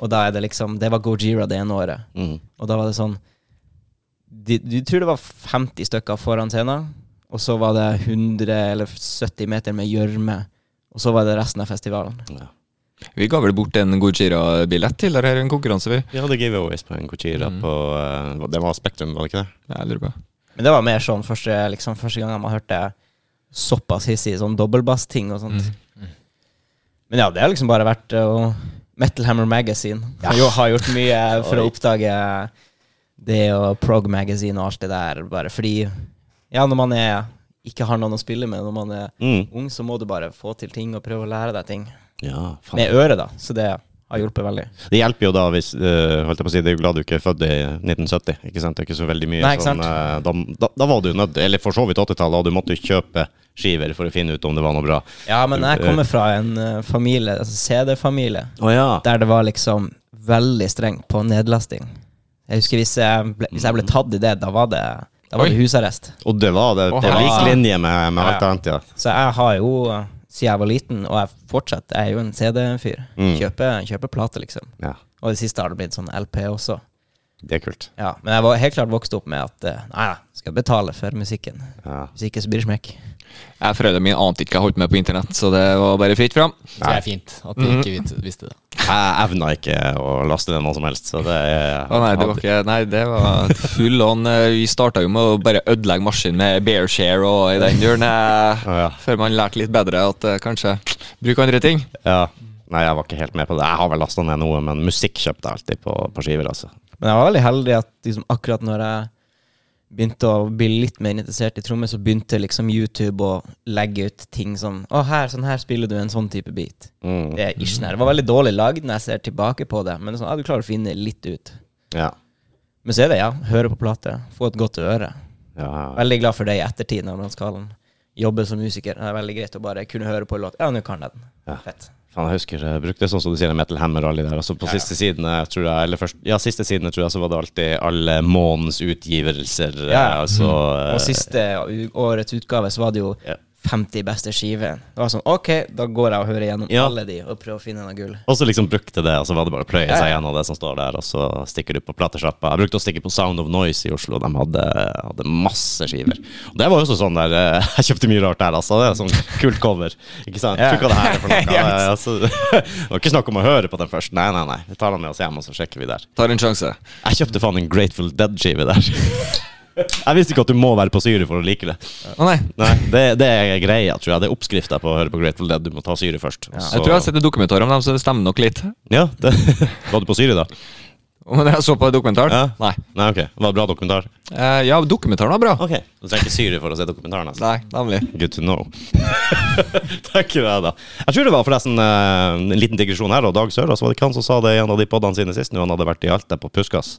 Og da er det liksom Det var Gojira det ene året.
Mm.
Og da var det sånn de, Du tror det var 50 stykker foran scenen, og så var det 100 eller 70 meter med gjørme. Og så var det resten av festivalen.
Vi ga vel bort en Gojira-billett til der her, en konkurranse, vi.
Vi hadde giveaways på en Gojira på eh, Det var Spektrum, var det ikke det?
Jeg lurer på.
Men det var mer sånn første, liksom, første gang man hørte såpass hissig sånn dobbeltbass-ting og sånt. Men ja, det har liksom bare vært uh, Metal Hammer Magazine. Har, jo, har gjort mye for å oppdage det og Prog Magazine og alt det der. Bare fordi Ja, når man er, ikke har noen å spille med, når man er
Mm.
ung, så må du bare få til ting og prøve å lære deg ting.
Ja, faen.
Med øret, da. Så det har hjulpet veldig.
Det hjelper jo da hvis eh, holdt jeg på å si, Det er jo glad du ikke er født i 1970. ikke sant? Det er ikke så veldig mye
Nei, ikke
sånn, eh, da, da, da var du nødt Eller for så vidt 80-tallet, og du måtte jo kjøpe skiver for å finne ut om det var noe bra.
Ja, men jeg kommer fra en uh, familie, altså CD-familie.
Å ja.
der det var liksom veldig strengt på nedlasting. Jeg husker hvis jeg ble, hvis jeg ble tatt i det, da var det, da var det
Oi.
husarrest.
Og det var det.
Å,
På lik
ja.
linje med, med alt
Ja.
annet, ja.
Så jeg har jo, siden jeg var liten, og jeg fortsatt jeg er jo en CD-fyr,
Mm.
kjøper, kjøper plate, liksom.
ja.
Og i det siste har det blitt sånn LP også.
Det er kult.
Ja, men jeg var helt klart vokst opp med at eh, nei, nei, skal betale for musikken.
Ja.
Hvis ikke, så blir det smekk.
Jeg Foreldrene mine ante ikke hva jeg holdt med på internett, så det var bare fritt fram.
Så det er fint at du ikke vis- visste det.
Jeg evna ikke å laste ned noe som helst, så det er
Å nei, det var ikke Nei, det var full on. eh, Vi starta jo med å bare ødelegge maskinen med Bearshare og i den duren. eh,
Å, ja.
Før man lærte litt bedre at eh, kanskje bruk andre ting.
ja. Nei, jeg var ikke helt med på det. Jeg har vel lasta ned noe, men musikk kjøpte jeg alltid på, på skiver, altså.
Men jeg var veldig heldig at liksom, akkurat når jeg begynte å bli litt mer interessert i trommer, så begynte liksom YouTube å legge ut ting som Å, her, sånn her spiller du en sånn type beat.
Mm.
Det er ikke sånn her. Det var veldig dårlig lagd når jeg ser tilbake på det, men det er sånn, ja, du klarer å finne litt ut.
Ja.
Men så er det, ja, høre på plate, få et godt øre.
Ja.
Veldig glad for det i ettertid når man skal jobbe som musiker. Det er veldig greit å bare kunne høre på en låt. Ja, nå kan jeg den.
Ja.
Fett.
Faen, jeg husker jeg brukte sånn som du sier, Metal Hammer og alle de der. Altså på siste sidene, tror jeg, eller først, ja, siste sidene, tror jeg, så var det alltid alle månedens utgivelser.
Ja. Mm.
eh, Altså,
Og siste u- årets utgave så var det jo
Ja.
50 beste skivene. Det var sånn, ok, da går jeg og hører gjennom
Ja.
alle de og prøver å finne noe gull.
Og så liksom brukte det, og så var det bare å pløye
Ja,
seg
ja.
gjennom det som står der, og så stikker du på platesjappa. Jeg brukte å stikke på Sound of Noise i Oslo, de hadde, hadde masse skiver. Og det var jo også sånn der eh, Jeg kjøpte mye rart der, altså. Det er sånn kult cover, ikke sant?
Ja.
Tror ikke hva det her er for noe.
Ja,
Eh, altså, det var ikke snakk om å høre på den først. Nei, nei, nei. Vi tar den med oss hjem, og så sjekker vi der.
Tar en sjanse.
Jeg kjøpte faen en Grateful Dead-skive der. Jeg visste ikke at du må være på syre for å like det.
Å nei.
Nei, Det, det er greia, tror jeg. Det er oppskrifta på å høre på Grateful Dead. Du må ta syre først. og
Jeg
så-
tror jeg har sett en dokumentar om dem, så det stemmer nok litt.
Ja, det, Var du på syre, da?
Men jeg så på dokumentaren.
Ja.
Nei.
Nei, ok. Det var en bra dokumentar.
Eh, ja, dokumentaren var bra.
Ok. Du trenger ikke syre for å se dokumentaren. Altså.
Nei, nemlig.
Good to know. Takk i deg, da. Jeg tror det var forresten eh, en liten digresjon her, og Dag Sørås var det ikke han som sa det i en av de podene sine sist, når han hadde vært i Alta på Puskas.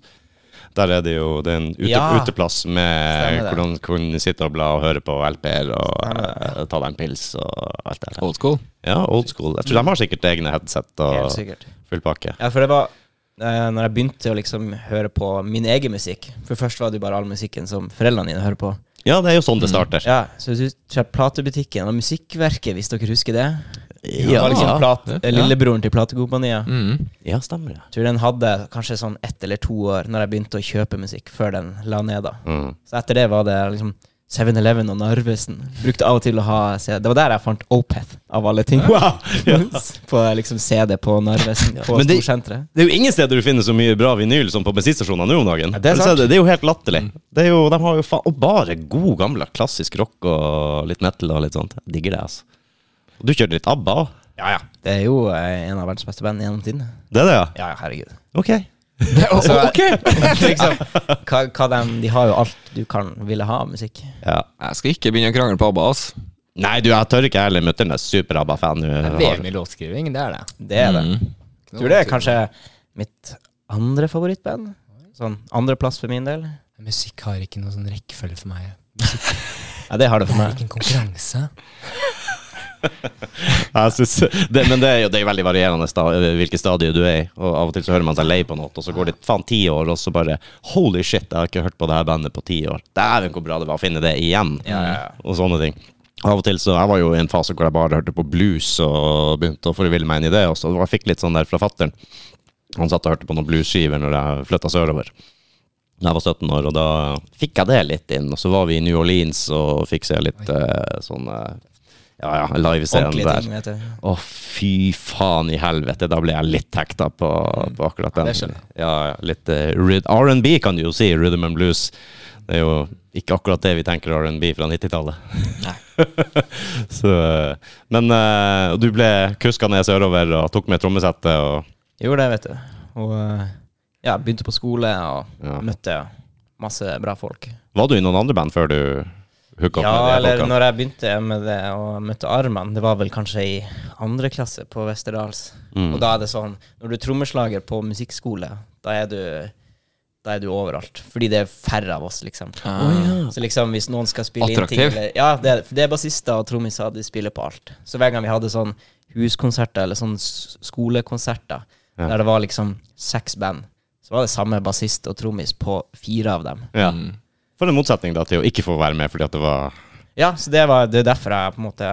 Der er det jo det er en ute,
Ja.
uteplass med
Stemmer det.
hvordan hvordan du sitter og blar og hører på LP-er og eh, ta deg en pils og alt det der.
Old school.
Ja, old school. Jeg tror de har sikkert egne headset
Helt
og
sikkert.
full pakke.
Ja, for det var eh, når jeg begynte å liksom høre på min egen musikk For først var det jo bare all musikken som foreldrene dine hører på.
Ja, det er jo sånn det starter.
Mm. Ja, Så hvis du ser platebutikken og Musikkverket, hvis dere husker det. Det var liksom
Ja.
plat,
Ja.
eh, Lillebroren til platekompaniet.
Mm.
ja stemmer det.
Jeg tror den hadde kanskje sånn ett eller to år når jeg begynte å kjøpe musikk, før den la ned. da
Mm.
Så etter det var det liksom 7-Eleven og Narvesen. Brukte av og til å ha CD. Det var der jeg fant Opeth, av alle ting. på liksom CD på Narvesen, på
Men det-
storsenteret.
Det er jo ingen steder du finner så mye bra vinyl som på bensinstasjoner nå om dagen.
Ja, det er sant.
Det, det er jo helt latterlig. Det er jo, de har jo faen, Og bare god, gammel klassisk rock og litt metal og litt sånt. Jeg digger det, altså. Og du kjører litt ABBA òg? Ja, ja.
Det er jo eh, en av verdens beste band gjennom tiden.
Det er det, ja?
Ja, herregud.
Ok.
Så- ok!
liksom, hva, hva de, de har jo alt du kan ville ha av musikk.
Ja.
Jeg skal ikke begynne å krangle på ABBA, ass.
Nei, du, jeg tør ikke heller mutter'n er super-ABBA-fan. du har-
VM i låtskriving, det er det.
Det er det.
Mm.
Tror det er kanskje mitt andre favorittband. Sånn andreplass for min del.
Musikk har ikke noe sånn rekkefølge for meg.
Ja, det har det
Det
for
er
meg.
ikke en konkurranse.
Jeg synes, det, men det er jo det er jo veldig varierende sta, hvilket stadie du er i. Og Av og til så hører man seg lei på noe, og så går det faen ti år, og så bare Holy shit, jeg har ikke hørt på det her bandet på ti år. Dæven, hvor bra det var å finne det igjen. Og sånne ting. Av og til så, Jeg var jo i en fase hvor jeg bare hørte på blues og begynte å forville meg inn i det. Og så jeg fikk litt sånn der fra fattern. Han satt og hørte på noen bluesskiver når jeg flytta sørover. Da jeg var 17 år, og da fikk jeg det litt inn. Og så var vi i New Orleans og fikk se litt eh, sånn eh, Ja, ja, livescenen
Ordentlige
der.
ting, vet du.
Å, fy faen i helvete. Da ble jeg litt hekta på, på akkurat den.
det skjønner jeg.
Ja, ja, litt eh, ryd- R&B kan du jo si. Rhythm and blues. Det er jo ikke akkurat det vi tenker R&B fra 90-tallet. Så, eh, men eh, du ble kuska ned sørover og tok med trommesettet og
Gjorde det, vet du. Og eh, ja, begynte på skole og
ja.
møtte masse bra folk.
Var du i noen andre band før du hooka opp
Ja,
med de her
eller
folkene?
når jeg begynte med det og møtte Arman, det var vel kanskje i andre klasse på Westerdals.
Mm.
Og da er det sånn, når du er trommeslager på musikkskole, da er du da er du overalt. Fordi det er færre av oss, liksom. Så liksom, hvis noen skal spille inn
Attraktiv.
ting eller, Ja, det er, det er bassister og trommiser, de spiller på alt. Så hver gang vi hadde sånn huskonserter eller sånn s- skolekonserter, der det var liksom seks band, så var det samme bassist og trommis på fire av dem.
Ja. For en motsetning da til å ikke få være med fordi at det var
Ja, så det, var, det er derfor jeg på en måte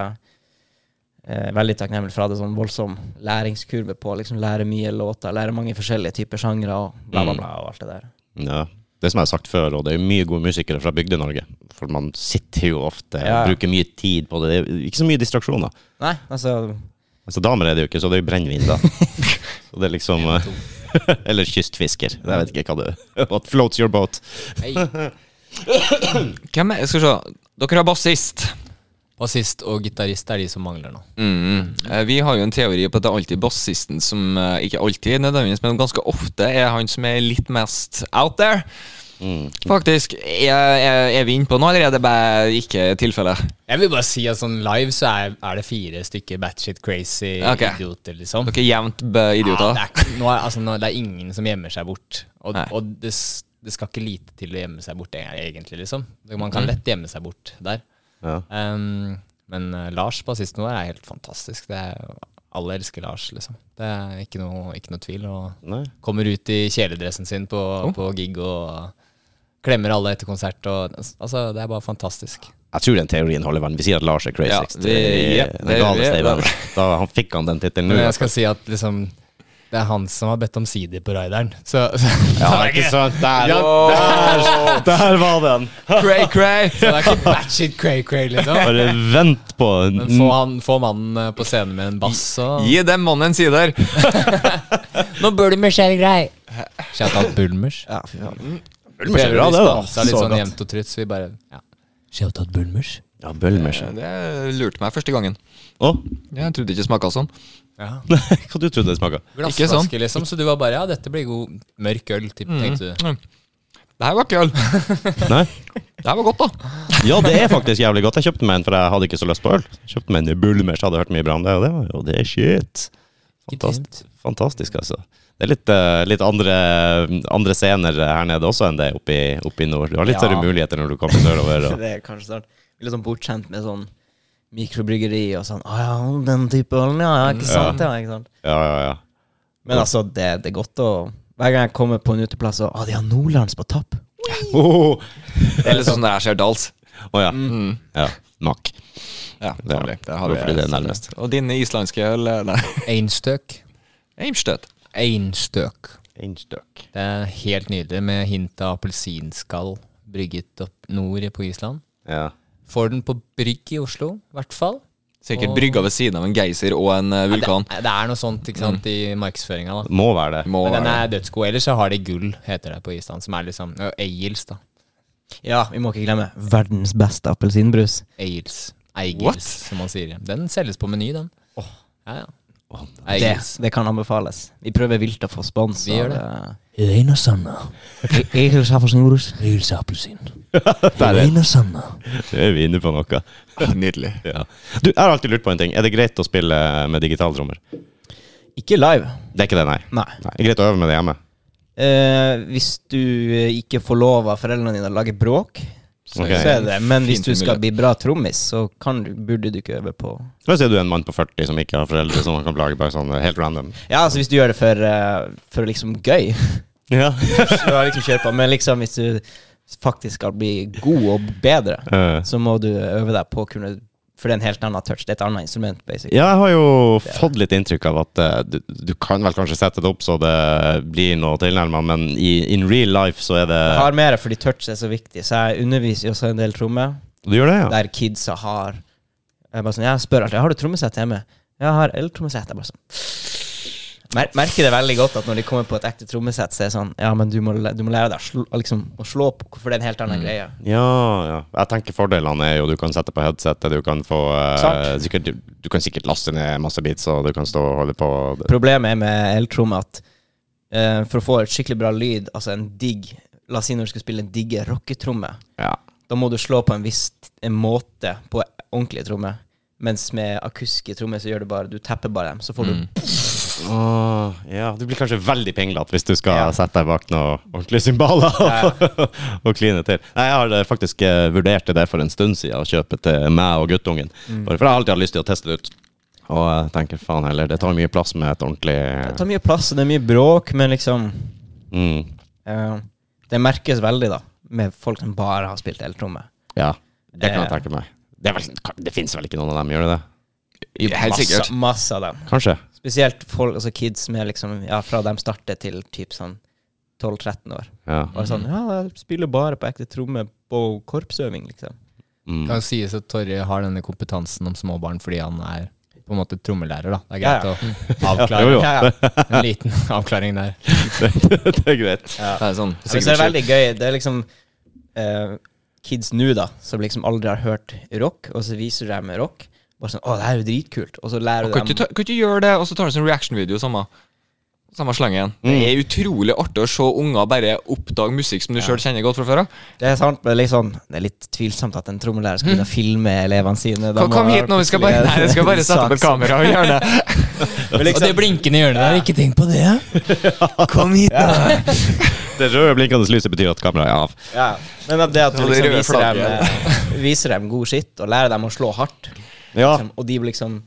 eh, veldig takknemlig for at jeg hadde sånn voldsom læringskurve på å liksom lære mye låter, lære mange forskjellige typer sjangre og bla, bla, bla og alt det der.
Ja. Det som jeg har sagt før, og det er jo mye gode musikere fra Bygde-Norge. For man sitter jo ofte
Ja.
og bruker mye tid på det. Det er ikke så mye distraksjoner.
Nei, altså
Altså Damer er det jo ikke, så det er jo brennevin, da. så det er liksom eh, Eller kystfisker. Jeg vet ikke hva det What floats your boat.
Hvem er Skal vi se. Dere har bassist.
Bassist og gitarist er de som mangler nå.
Mm. Eh, Vi har jo en teori på at det er alltid bassisten som eh, Ikke alltid, nødvendigvis, men ganske ofte er han som er litt mest out there. Faktisk. Er, er, er vi inne på noe, eller er det bare ikke tilfellet?
Jeg vil bare si at sånn live så er, er det fire stykker batshit crazy
Ok.
idioter, liksom.
Dere er jevnt b-
Ja,
idioter?
det, er, ikke- nå er, altså, nå, det er ingen som gjemmer seg bort. Og,
Nei.
og det, s- det skal ikke lite til å gjemme seg bort, e- egentlig. liksom Man
Mm.
kan lett gjemme seg bort der.
Ja.
Ehm, men eh, Lars, bassisten vår, er helt fantastisk. Det er, alle elsker Lars, liksom. Det er ikke noe, ikke noe tvil. Og
Nei.
kommer ut i kjeledressen sin på, på gig og klemmer alle etter konsert. Og, altså, det er bare fantastisk.
Jeg tror den teorien holder vann. Vi sier at Lars er
Ja,
craziest.
det-
i-
ja,
den
det-
galeste i
ja.
verden. Da han fikk han den tittelen nå.
Men jeg skal si at liksom det er han som har bedt om sider på rideren. Så, så
Ja, ikke sant? Der,
Ja,
der, der var den!
Cray, cray!
det er ikke batshit cray-cray, liksom.
Bare vent på
Men få, han, få mannen eh, på scenen med en bass og
Gi den mannen en sider.
Nå Bulmers er grei! Shout out Bulmers.
Ja, fy faen.
Prøver å
Så litt sånn jevnt og trutt, så vi bare ja. Shout out Bulmers.
Ja, Bølmers.
Det lurte meg første gangen.
Å,
Jeg trodde ikke smaka sånn.
Ja.
hva du trodde det smaka?
Ikke sånn.
Glassflaske, liksom. Så du var bare ja, dette blir god mørk øl, typ, tenkte du.
Det her var ikke øl.
Nei?
Det her var godt, da.
Ja, det er faktisk jævlig godt. Jeg kjøpte meg en, for jeg hadde ikke så lyst på øl. Kjøpte meg en Bulmers, hadde hørt mye bra om det, og det var jo det er shit. Fantastisk, fantastisk altså. Det er litt, eh, litt andre, andre scener her nede også enn det er oppe i- oppe i nord. Du har litt
Ja.
større muligheter når du kommer sørover. Og.
Det er kanskje snart. Vi er litt sånn bortskjemt med sånn mikrobryggeri og sånn Å ja, den type øl, ja, ja, ikke sant? Mm. Ja, ikke sant?
Ja, ja, ja.
Men altså, det, det er godt å Hver gang jeg kommer på en uteplass og Å, de har Nordlands på tapp!
Å
Eller sånn der skjer dals.
Å, ja.
Mhm.
ja. Mak.
Ja,
Ja,
dårlig. Der
det var fordi det er nærmest.
Og din islandske øl eh, Nei,
Einstøk.
Eimstøt.
Einstøk.
Einstøk.
Det er helt nydelig med hint av appelsinskall brygget opp nord på Island.
Ja.
Får den på brygg i Oslo, i hvert fall.
Sikkert
Og-
brygga ved siden av en geyser og en eh, vulkan.
Det, det er noe sånt ikke sant, i markedsføringa. da.
Må være det.
Må
Men den
være
er dødsgod. Ellers så har de gull, heter det på Island, som er liksom ø, Eils, da.
Ja, vi må ikke glemme verdens beste appelsinbrus.
Eils.
What?
Eigils, som man sier. Den selges på Meny, den. Ja, ja.
Det,
Eigils.
det kan anbefales. Vi prøver vilt å få spons.
Vi gjør
av,
Rein og sanna.
eh, Egils appelsinbrus.
Hils appelsin.
Der er,
Rein og sanna.
nå er vi inne på noe.
det. Nydelig.
Ja. Du, jeg har alltid lurt på en ting. Er det greit å spille med digitaltrommer?
Ikke live.
Det er ikke det, nei.
Nei.
nei. Det er greit å øve med det hjemme.
Eh, hvis du eh, ikke får lov av foreldrene dine å lage bråk,
Ok.
så er det Men hvis
Fint
du skal
mulighet.
bli bra trommis, så kan du, burde du ikke øve på
Hva sier du en mann på 40 som ikke har foreldre som han kan plage bare sånn eh, helt random?
Ja, altså hvis du gjør det for, eh, for liksom gøy,
Ja.
så liksom kjør på. Men liksom hvis du faktisk skal bli god og bedre,
Eh,
så må du øve deg på å kunne For det er en helt annen touch. Det er et annet instrument, basically.
Ja, jeg har jo fått litt inntrykk av at eh, du, du kan vel kanskje sette det opp så det blir noe tilnærma, men i, in real life så er det
Jeg har mer fordi touch er så viktig, så jeg underviser jo også en del trommer.
Du gjør det, ja?
der kidsa har Jeg, bare sånn, jeg spør alltid Har du trommesett hjemme. Jeg har eltrommesett. Jeg bare sånn Mer, merker det veldig godt at når de kommer på et ekte trommesett, så er det sånn Ja, men du må, læ- du må lære deg å slå- liksom, å slå på, for det er en helt annen greie.
Ja, ja. Jeg tenker fordelene er jo du kan sette på headsetet, du kan få eh,
Sant.
sikkert, du, du kan sikkert laste ned masse beats, og du kan stå og holde på
Problemet er med eltromme at eh, for å få et skikkelig bra lyd, altså en digg La oss si når du skal spille en digge rocketromme,
Ja.
da må du slå på en viss t- en måte på ordentlige trommer. Mens med akustiske trommer så gjør du bare Du tepper bare dem, så får du
Mm.
Åh, ja, du blir kanskje veldig pinglete hvis du skal sette deg bak noen ordentlige cymbaler og kline til. Nei, jeg har eh, faktisk eh, vurdert det der for en stund siden, å kjøpe til meg og guttungen.
Mm.
Bare for jeg har alltid hatt lyst til å teste det ut. Og jeg tenker faen heller, det tar mye plass med et
Det
ordentlig
tar mye plass, og det er mye bråk, men liksom
mm,
Eh, det merkes veldig, da, med folk som bare har spilt eltromme.
Ja, det kan jeg
Eh.
tenke meg. Det, er vel, det finnes vel ikke noen av dem, gjør det det?
Helt sikkert.
Masse, masse av dem.
Kanskje.
Spesielt folk, altså kids med liksom Ja, fra de starter til typ sånn 12-13 år.
Ja.
Mm.
Bare sånn Ja, jeg spiller bare på ekte tromme på korpsøving, liksom.
Mm.
Det kan sies at Torje har denne kompetansen om små barn fordi han er på en måte trommelærer. da. Det er
Ja,
greit
ja.
å
Jo,
avklare.
jo.
Ja, ja.
En liten avklaring der.
det er greit.
Det er sånn,
Men så er det veldig gøy. Det er liksom eh, kids nå, da, som liksom aldri har hørt rock, og så viser du dem rock. Bare sånn Å, det her er jo dritkult. Og så lærer
Kan
du
ikke,
dem
ta, kan ikke gjøre det, og så tar du sånn reaction-video samme, samme slangen. Det er utrolig artig å se unger bare oppdage musikk som du selv sjøl kjenner godt fra før av.
Det er sant, men liksom, det er litt tvilsomt at en trommelærer skal begynne å filme elevene sine. Da
Mm. Kom,
må
kom
det
hit nå, vi skal bare,
plutselig-
nei, jeg skal bare sette opp et
Saks.
kamera og gjøre det.
Men
Og det
Liksom,
blinkende hjørnet der, ikke tenk på det.
Kom hit, da.
Det røde blinkende lyset betyr at kameraet er av.
ja. Men at det at du
Og det
liksom
røde
viser
flagget.
dem, eh, viser dem god skitt, og lærer dem å slå hardt,
Ja.
liksom, og de liksom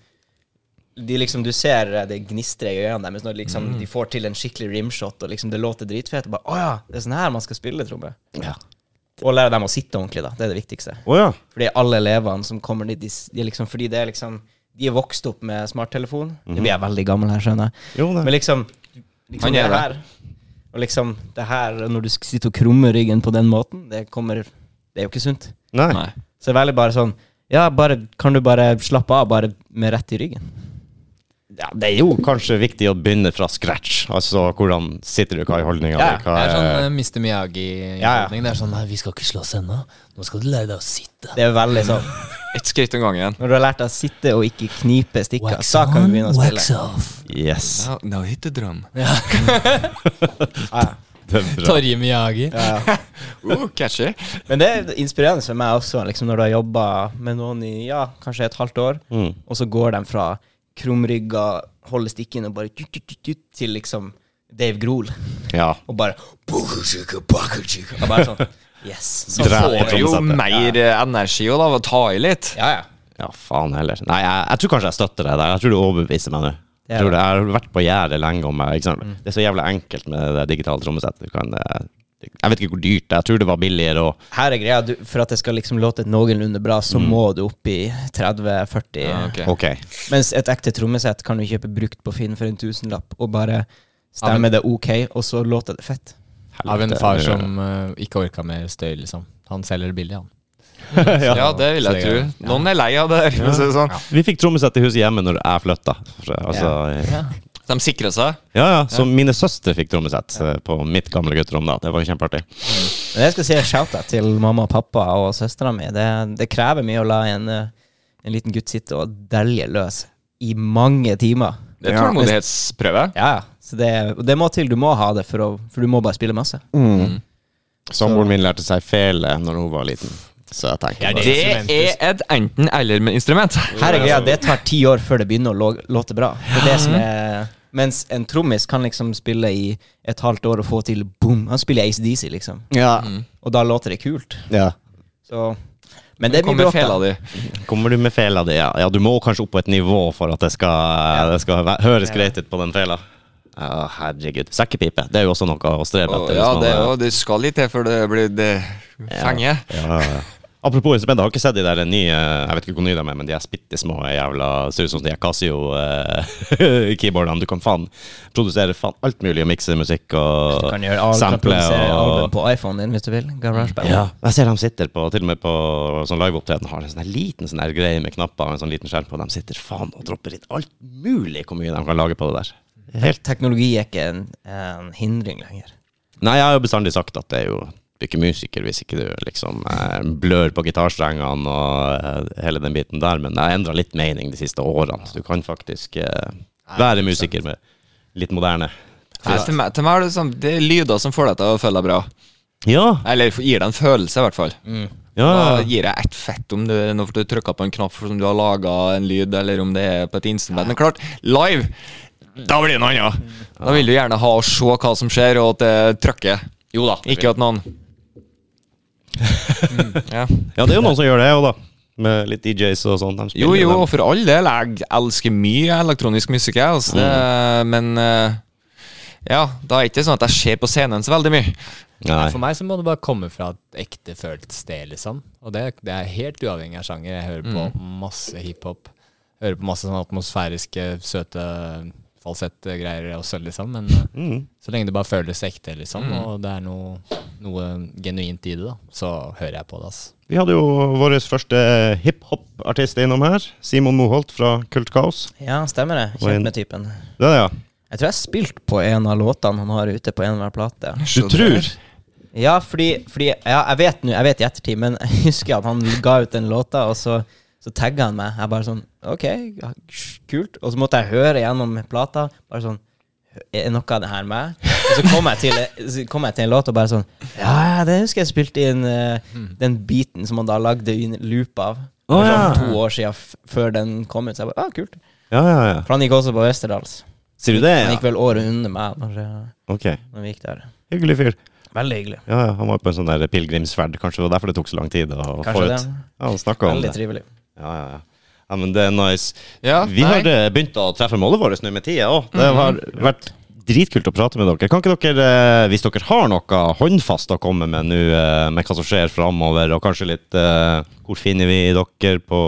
de liksom, Du ser eh, det gnistrer i øynene deres når liksom, de får til en skikkelig rimshot, og liksom det låter dritfett. Og bare, Å ja, det er sånn her man skal spille tromme. Og lære dem å sitte ordentlig, da. Det er det viktigste.
Å ja.
Fordi alle elevene som kommer dit, de, s- de er liksom, fordi det er liksom De er vokst opp med smarttelefon. Nå blir jeg veldig gammel her, skjønner jeg.
Jo, det.
Men liksom, liksom
Han
det
er det.
her Og liksom det her, når du sk- sitter og krummer ryggen på den måten, det kommer Det er jo ikke sunt.
Nei.
Nei.
Så det er veldig bare sånn Ja, bare, kan du bare slappe av, bare med rett i ryggen?
Ja, det er jo kanskje viktig å begynne fra scratch. Altså, hvordan sitter du, hva er holdninga
Ja,
hva
Det er sånn
er-
eh, Mr. Miyagi-holdning.
Ja, ja.
Det er sånn Nei, vi skal ikke slåss ennå. Nå skal du lære deg å sitte.
Det er veldig sånn
Ett skritt om gangen.
Når du har lært deg å sitte og ikke knipe stikker,
Wax
så kan
on,
vi begynne å
wax
spille.
off.
Yes.
Now, now hit the drum.
Det er bra.
Torje Miyagi.
Uh, catchy.
Men det er inspirerende for meg også, liksom når du har jobba med noen i ja, kanskje et halvt år,
Mm.
og så går de fra krumrygga, holder stikken og bare tut, tut, tut, tut, til liksom Dave Grohl,
Ja.
og bare og bare sånn Yes.
Så
Sånn
Dra-
får
får
vi.
du jo
trommesettet.
mer eh, energi også, da, av å ta i litt.
Ja, ja.
Ja, faen heller. Nei, jeg, jeg tror kanskje jeg støtter deg der. Jeg tror du overbeviser meg nå.
Det er
Jeg, tror det, jeg har vært på gjerdet lenge om meg. Ikke sant?
Mm.
Det er så jævlig enkelt med det digitale trommesettet. Du kan, eh, jeg vet ikke hvor dyrt det er. Jeg tror det var billigere. Og,
Her er greia, du, for at det skal liksom låte noenlunde bra, så må du opp i 30-40
Ja, ok.
ok.
Mens et ekte trommesett kan du kjøpe brukt på Finn for en tusenlapp, og bare stemme det ok, og så låter det fett.
Av en
Helvete,
far
det-
som eh, ikke orka mer støy, liksom. Han selger det billig, han.
ja. det vil jeg
Så
tro.
det-
Noen er lei av det der. for å si det Sånn.
Vi fikk trommesett i huset hjemme når jeg flytta. Altså, ja.
De sikrer seg.
ja, Så mine søstre fikk trommesett eh, på mitt gamle gutterom da. Det var jo kjempeartig.
Men jeg skal si en shout-out til mamma og pappa og søstera mi. Det, det krever mye å la en, eh, en liten gutt sitte og delje løs i mange timer.
Det er tålmodighetsprøve.
Ja, så det, og det må til. Du må ha det, for, å, for du må bare spille masse.
Samboeren min lærte seg fele når hun var liten. Så jeg tenker bare-
Det er et enten-eller-instrument.
Her er greia, det tar ti år før det begynner å lå- låte bra. Det er det som er mens en trommis kan liksom spille i et halvt år og få til boom. Han spiller ACDC, liksom.
ja.
Og da låter det kult.
ja.
Så Men det blir
Kommer
bråk,
fela
da.
di.
Kommer du med fela di, ja. ja. Du må kanskje opp på et nivå for at det skal, det skal væ- høres greit ut på den fela. Ja, herregud. Sekkepipe, det er jo også noe å strebe
Og,
etter.
ja,
hvis man-
det, er jo- det skal litt til før det blir det fenger.
Ja, ja. Apropos instrumenter, har du ikke sett de der nye Jeg vet ikke hvor nye de er, men de er bitte små jævla Ser ut som de er Casio-keyboardene. du kan faen produsere faen alt mulig og mikse musikk
Du
og
kan gjøre alt, kan
sample
produsere album
og
på iPhonen din hvis du vil. GarageBand.
ja, jeg ser de sitter på, til og med på sånn liveopptreden har de en sånn her liten sånn her greie med knapper og en sånn liten skjerm på. De sitter faen og dropper inn alt mulig hvor mye de kan lage på det der. Helt
Teknologi er ikke en, en hindring lenger.
Nei, jeg har jo bestandig sagt at det er jo du er ikke musiker hvis ikke du liksom eh, blør på gitarstrengene og eh, hele den biten der, men jeg har endra litt mening de siste årene, så du kan faktisk eh, være musiker med litt moderne.
Nei, Til meg, til meg er det, sånn, det er lyder som får deg til å føle deg bra.
Ja,
Eller gir deg en følelse, i hvert fall. Da
ja,
gir jeg ett fett om det er når du trykker på en knapp for som du har laga en lyd, eller om det er på et instrument. Men klart, live, da blir det noe annet. Da vil du gjerne ha å se hva som skjer, og at det trykker. Jo da. Ikke at noen mm, ja.
ja, det er jo noen som gjør det òg, da. Med litt DJs og sånn. De
Jo,
spiller
jo,
dem.
for all del. Jeg elsker mye elektronisk musikk, jeg. Altså, det, men eh, ja, da er det ikke sånn at jeg ser på scenen så veldig mye.
Nei.
For meg så må det bare komme fra et ekte følt sted, liksom. Og det, det er helt uavhengig av sjanger. Jeg hører på masse hiphop. Hører på masse sånn atmosfæriske, søte falsettgreier også, liksom. Men eh, så lenge det bare føles ekte, liksom, og det er noe, noe genuint i det, da, så hører jeg på det, ass.
Vi hadde jo vår første hiphop-artist innom her. Simon Moholt fra Kult Kaos.
Ja, stemmer det.
Og en-
Kjent med typen.
Det er det, ja.
Jeg tror jeg spilte på en av låtene han har ute på en hver plate.
Du tror?
Ja, fordi, fordi ja, jeg vet nå, jeg vet i ettertid, men jeg husker at han ga ut den låta, og så, så tagga han meg. Jeg bare sånn OK, ja, kult. Og så måtte jeg høre gjennom plata. Bare sånn Er noe av det her meg? Og så kom jeg til, så kom jeg til en låt og bare sånn Ja, ja, det husker jeg spilte inn eh, den beaten som han da lagde i en loop av.
Hmm. Å,
for
ja.
sånn To år siden f før den kom ut. Så jeg bare, ah, kult
Ja, ja, ja.
For han gikk også på Westerdals.
Sier du det?
Han
Ja.
gikk vel året under meg bare,
Ok.
når vi gikk der.
Hyggelig fyr.
Veldig hyggelig.
Ja, ja, han var jo på en sånn der pilegrimsferd. Kanskje det var derfor det tok så lang tid å få
Kanskje
ut.
det.
Ja, han snakket om
Veldig
det.
trivelig.
Ja, ja, ja. ja, men det er nice.
Ja,
Vi
nei.
har eh, begynt å treffe målet vårt nå med tida òg. Det har vært dritkult å prate med dere. Kan ikke dere, eh, hvis dere har noe håndfast å komme med nå, eh, med hva som skjer framover, og kanskje litt eh, Hvor finner vi dere på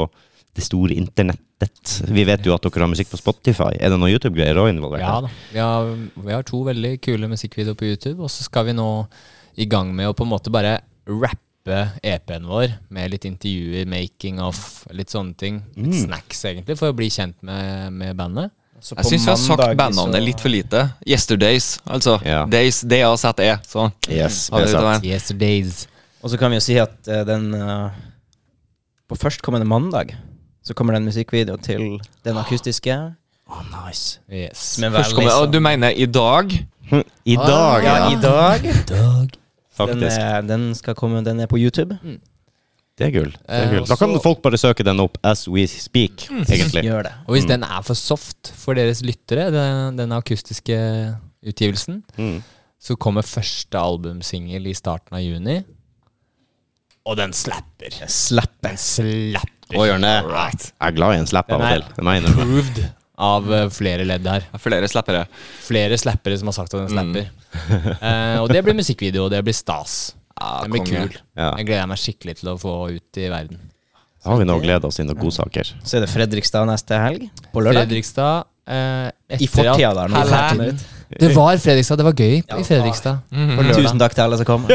det store internettet? Vi vet jo at dere har musikk på Spotify. Er det noen YouTube-greier òg involvert?
Ja da. Vi har, vi har to veldig kule musikkvideoer på YouTube, og så skal vi nå i gang med å på en måte bare rappe EP-en vår med litt intervjuer, making of, litt sånne ting. Litt snacks, egentlig, for å bli kjent med, med bandet.
Så på
Jeg syns vi har sagt
mandag
bandnavnet
så-
litt for lite. Yesterdays, altså.
Ja.
Days, D-A-Z-E. Sånn.
Yes,
Ha det
det er
ut av
sant.
veien.
Yesterdays.
Og så kan vi jo si at eh, den eh, På førstkommende mandag så kommer det en musikkvideo til den akustiske.
nice.
Yes.
Som er
Først kommer,
veldig sånn-
å, du mener i dag?
Hm, I
Ah,
dag,
ja,
ja.
i dag. Den, eh,
Faktisk.
er, den skal komme, den er på YouTube.
Det er gull. Det er
Eh,
gull. Da kan
også-
folk bare søke den opp as we speak, egentlig.
Gjør det.
Og hvis den er for soft for deres lyttere, den, den akustiske utgivelsen,
Mm.
så kommer første albumsingel i starten av juni. Og den slapper.
Slapper.
Den slapper.
Og Jørne, jeg er glad i en slap av og til. Det må jeg innrømme.
Proved av eh, flere ledd her.
Flere slappere. Mm.
Flere slappere som har sagt at den slapper. Eh, og det blir musikkvideo, og det blir stas.
Ja,
Den blir
konge.
kul.
Ja.
Jeg gleder meg skikkelig til å få ut i verden.
Da har vi nå gleda oss inn i godsaker.
Så er det Fredrikstad neste helg. På lørdag.
Fredrikstad eh, etter
I fortida
at-
der. Når vi
Hælæ.
snakker om det.
Det var Fredrikstad. Det var gøy i Fredrikstad. På
Mm.
lørdag.
Tusen takk til alle som kom.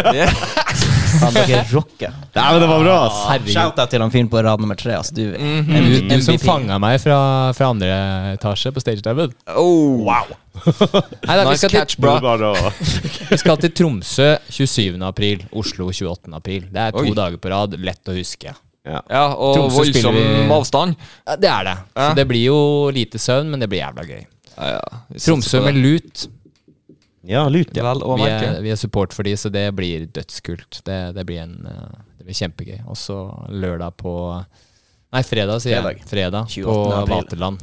Faen, dere rocker.
Nei, men det var bra, ass!
Herregud.
Shout-out til han fyren på rad nummer tre. Altså, du
Mhm.
Du, du Mm. som
MVP.
fanga meg fra, fra andre etasje på stagediven.
Oh, wow.
Nei da, vi
Nice
skal,
catch,
til,
bra.
Det var bra.
vi skal til Tromsø 27. april, Oslo 28. april. Det er to
Oi.
dager på rad, lett å huske.
Ja.
Ja, og
Tromsø spiller
voldsom
vi-
avstand.
Ja, det er det. Så
Ja.
det blir jo lite søvn, men det blir jævla gøy.
Ja, ja. Vi satser
Tromsø
på
med
det.
lut.
ja, lut, ja.
Vel å
Vi
merke.
er, vi er support for de, så det blir dødskult. Det, det, blir, en, eh, det blir kjempegøy. Og så lørdag på Nei, fredag, sier jeg. Fredag
28.
på
april.
Vaterland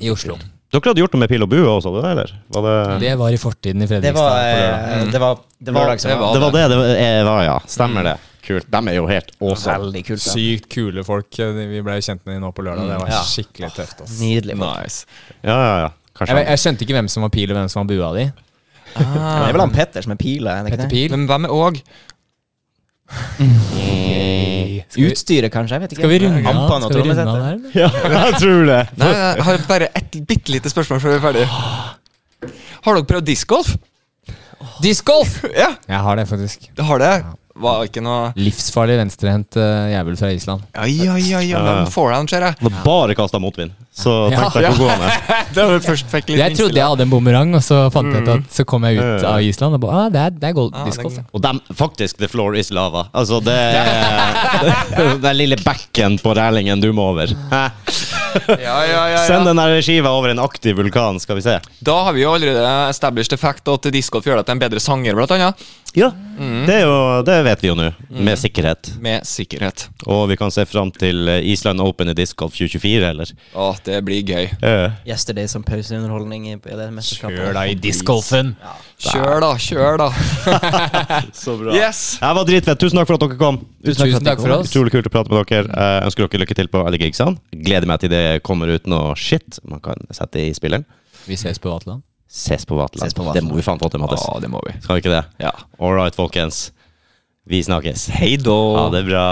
i Oslo.
Dere hadde gjort noe med pil og bue også, det der, eller? Var det
Det var i fortiden i Fredrikstad.
Det var,
på lørdag.
eh, det var, det var,
Det var-
det var det det var, eh, var, ja. Stemmer det. Kult. De er jo helt awesome.
veldig kult. da.
Sykt kule folk. Eh, Vi ble jo kjent med dem nå på lørdag. Det var skikkelig tøft. altså. ass.
Nydelig. folk.
Nice.
Ja, ja, ja.
Jeg,
Kanskje
jeg skjønte ikke hvem som var pil, og hvem som var bua di.
Det
Ah.
er vel han Petter som er pila? er det ikke
Petter
det?
Pil.
Men hvem er òg?
Skal vi-
Utstyret, kanskje? Jeg vet ikke.
Skal vi runde av?
Ampan og
Skal vi runde av
trommesetter.
der, eller?
Ja, jeg tror det.
Nei, jeg har bare et bitte lite spørsmål før vi er ferdig. Har dere prøvd discgolf?
Discgolf!
Ja,
Jeg har det, faktisk.
det har det. Var ikke noe
Livsfarlig venstrehendt eh, jævel fra Island.
Ai, ai, ai, ai, men forehand, ser jeg.
Det var bare kasta motvind, så tenkte jeg ikke å gå med.
Det var først fikk litt
Jeg trodde jeg hadde en bumerang, og så fant jeg ut at så kom jeg ut av Island og bare ah, det er, det er gold
Ja,
discgolf.
det
ja.
Og dem, faktisk, the floor is lava. Altså, det er Den lille bekken på rælingen du må over. Hæ?
Ja, ja, ja,
Send
ja.
den der skiva over en aktiv vulkan, skal vi se.
Da har vi jo allerede established effect at discgolf gjør deg til en bedre sanger, blant annet.
Ja,
Mm.
det, er jo, det vet vi jo nå, med sikkerhet.
Med sikkerhet.
Og vi kan se fram til eh, Island Open i Disc Golf 2024, eller?
Å, det blir gøy.
Eh,
Yesterday som pauseunderholdning i i det mesterskapet.
Kjør deg i discgolfen!
Kjør, da. Kjør, da.
Så bra.
Yes!
Jeg var dritfett. Tusen takk for at dere kom.
Tusen takk for oss.
Utrolig kult å prate med dere. Jeg ønsker dere lykke til på alle gigsene. Gleder meg til det kommer ut noe shit man kan sette i spilleren.
Vi ses på Vaterland.
Ses på Vaterland.
Ses på Vaterland.
Det må vi faen få til,
Å,
Mattis.
det må vi.
Skal vi ikke det?
Ja.
All right, folkens. Vi snakkes.
Hei da.
Ha det bra.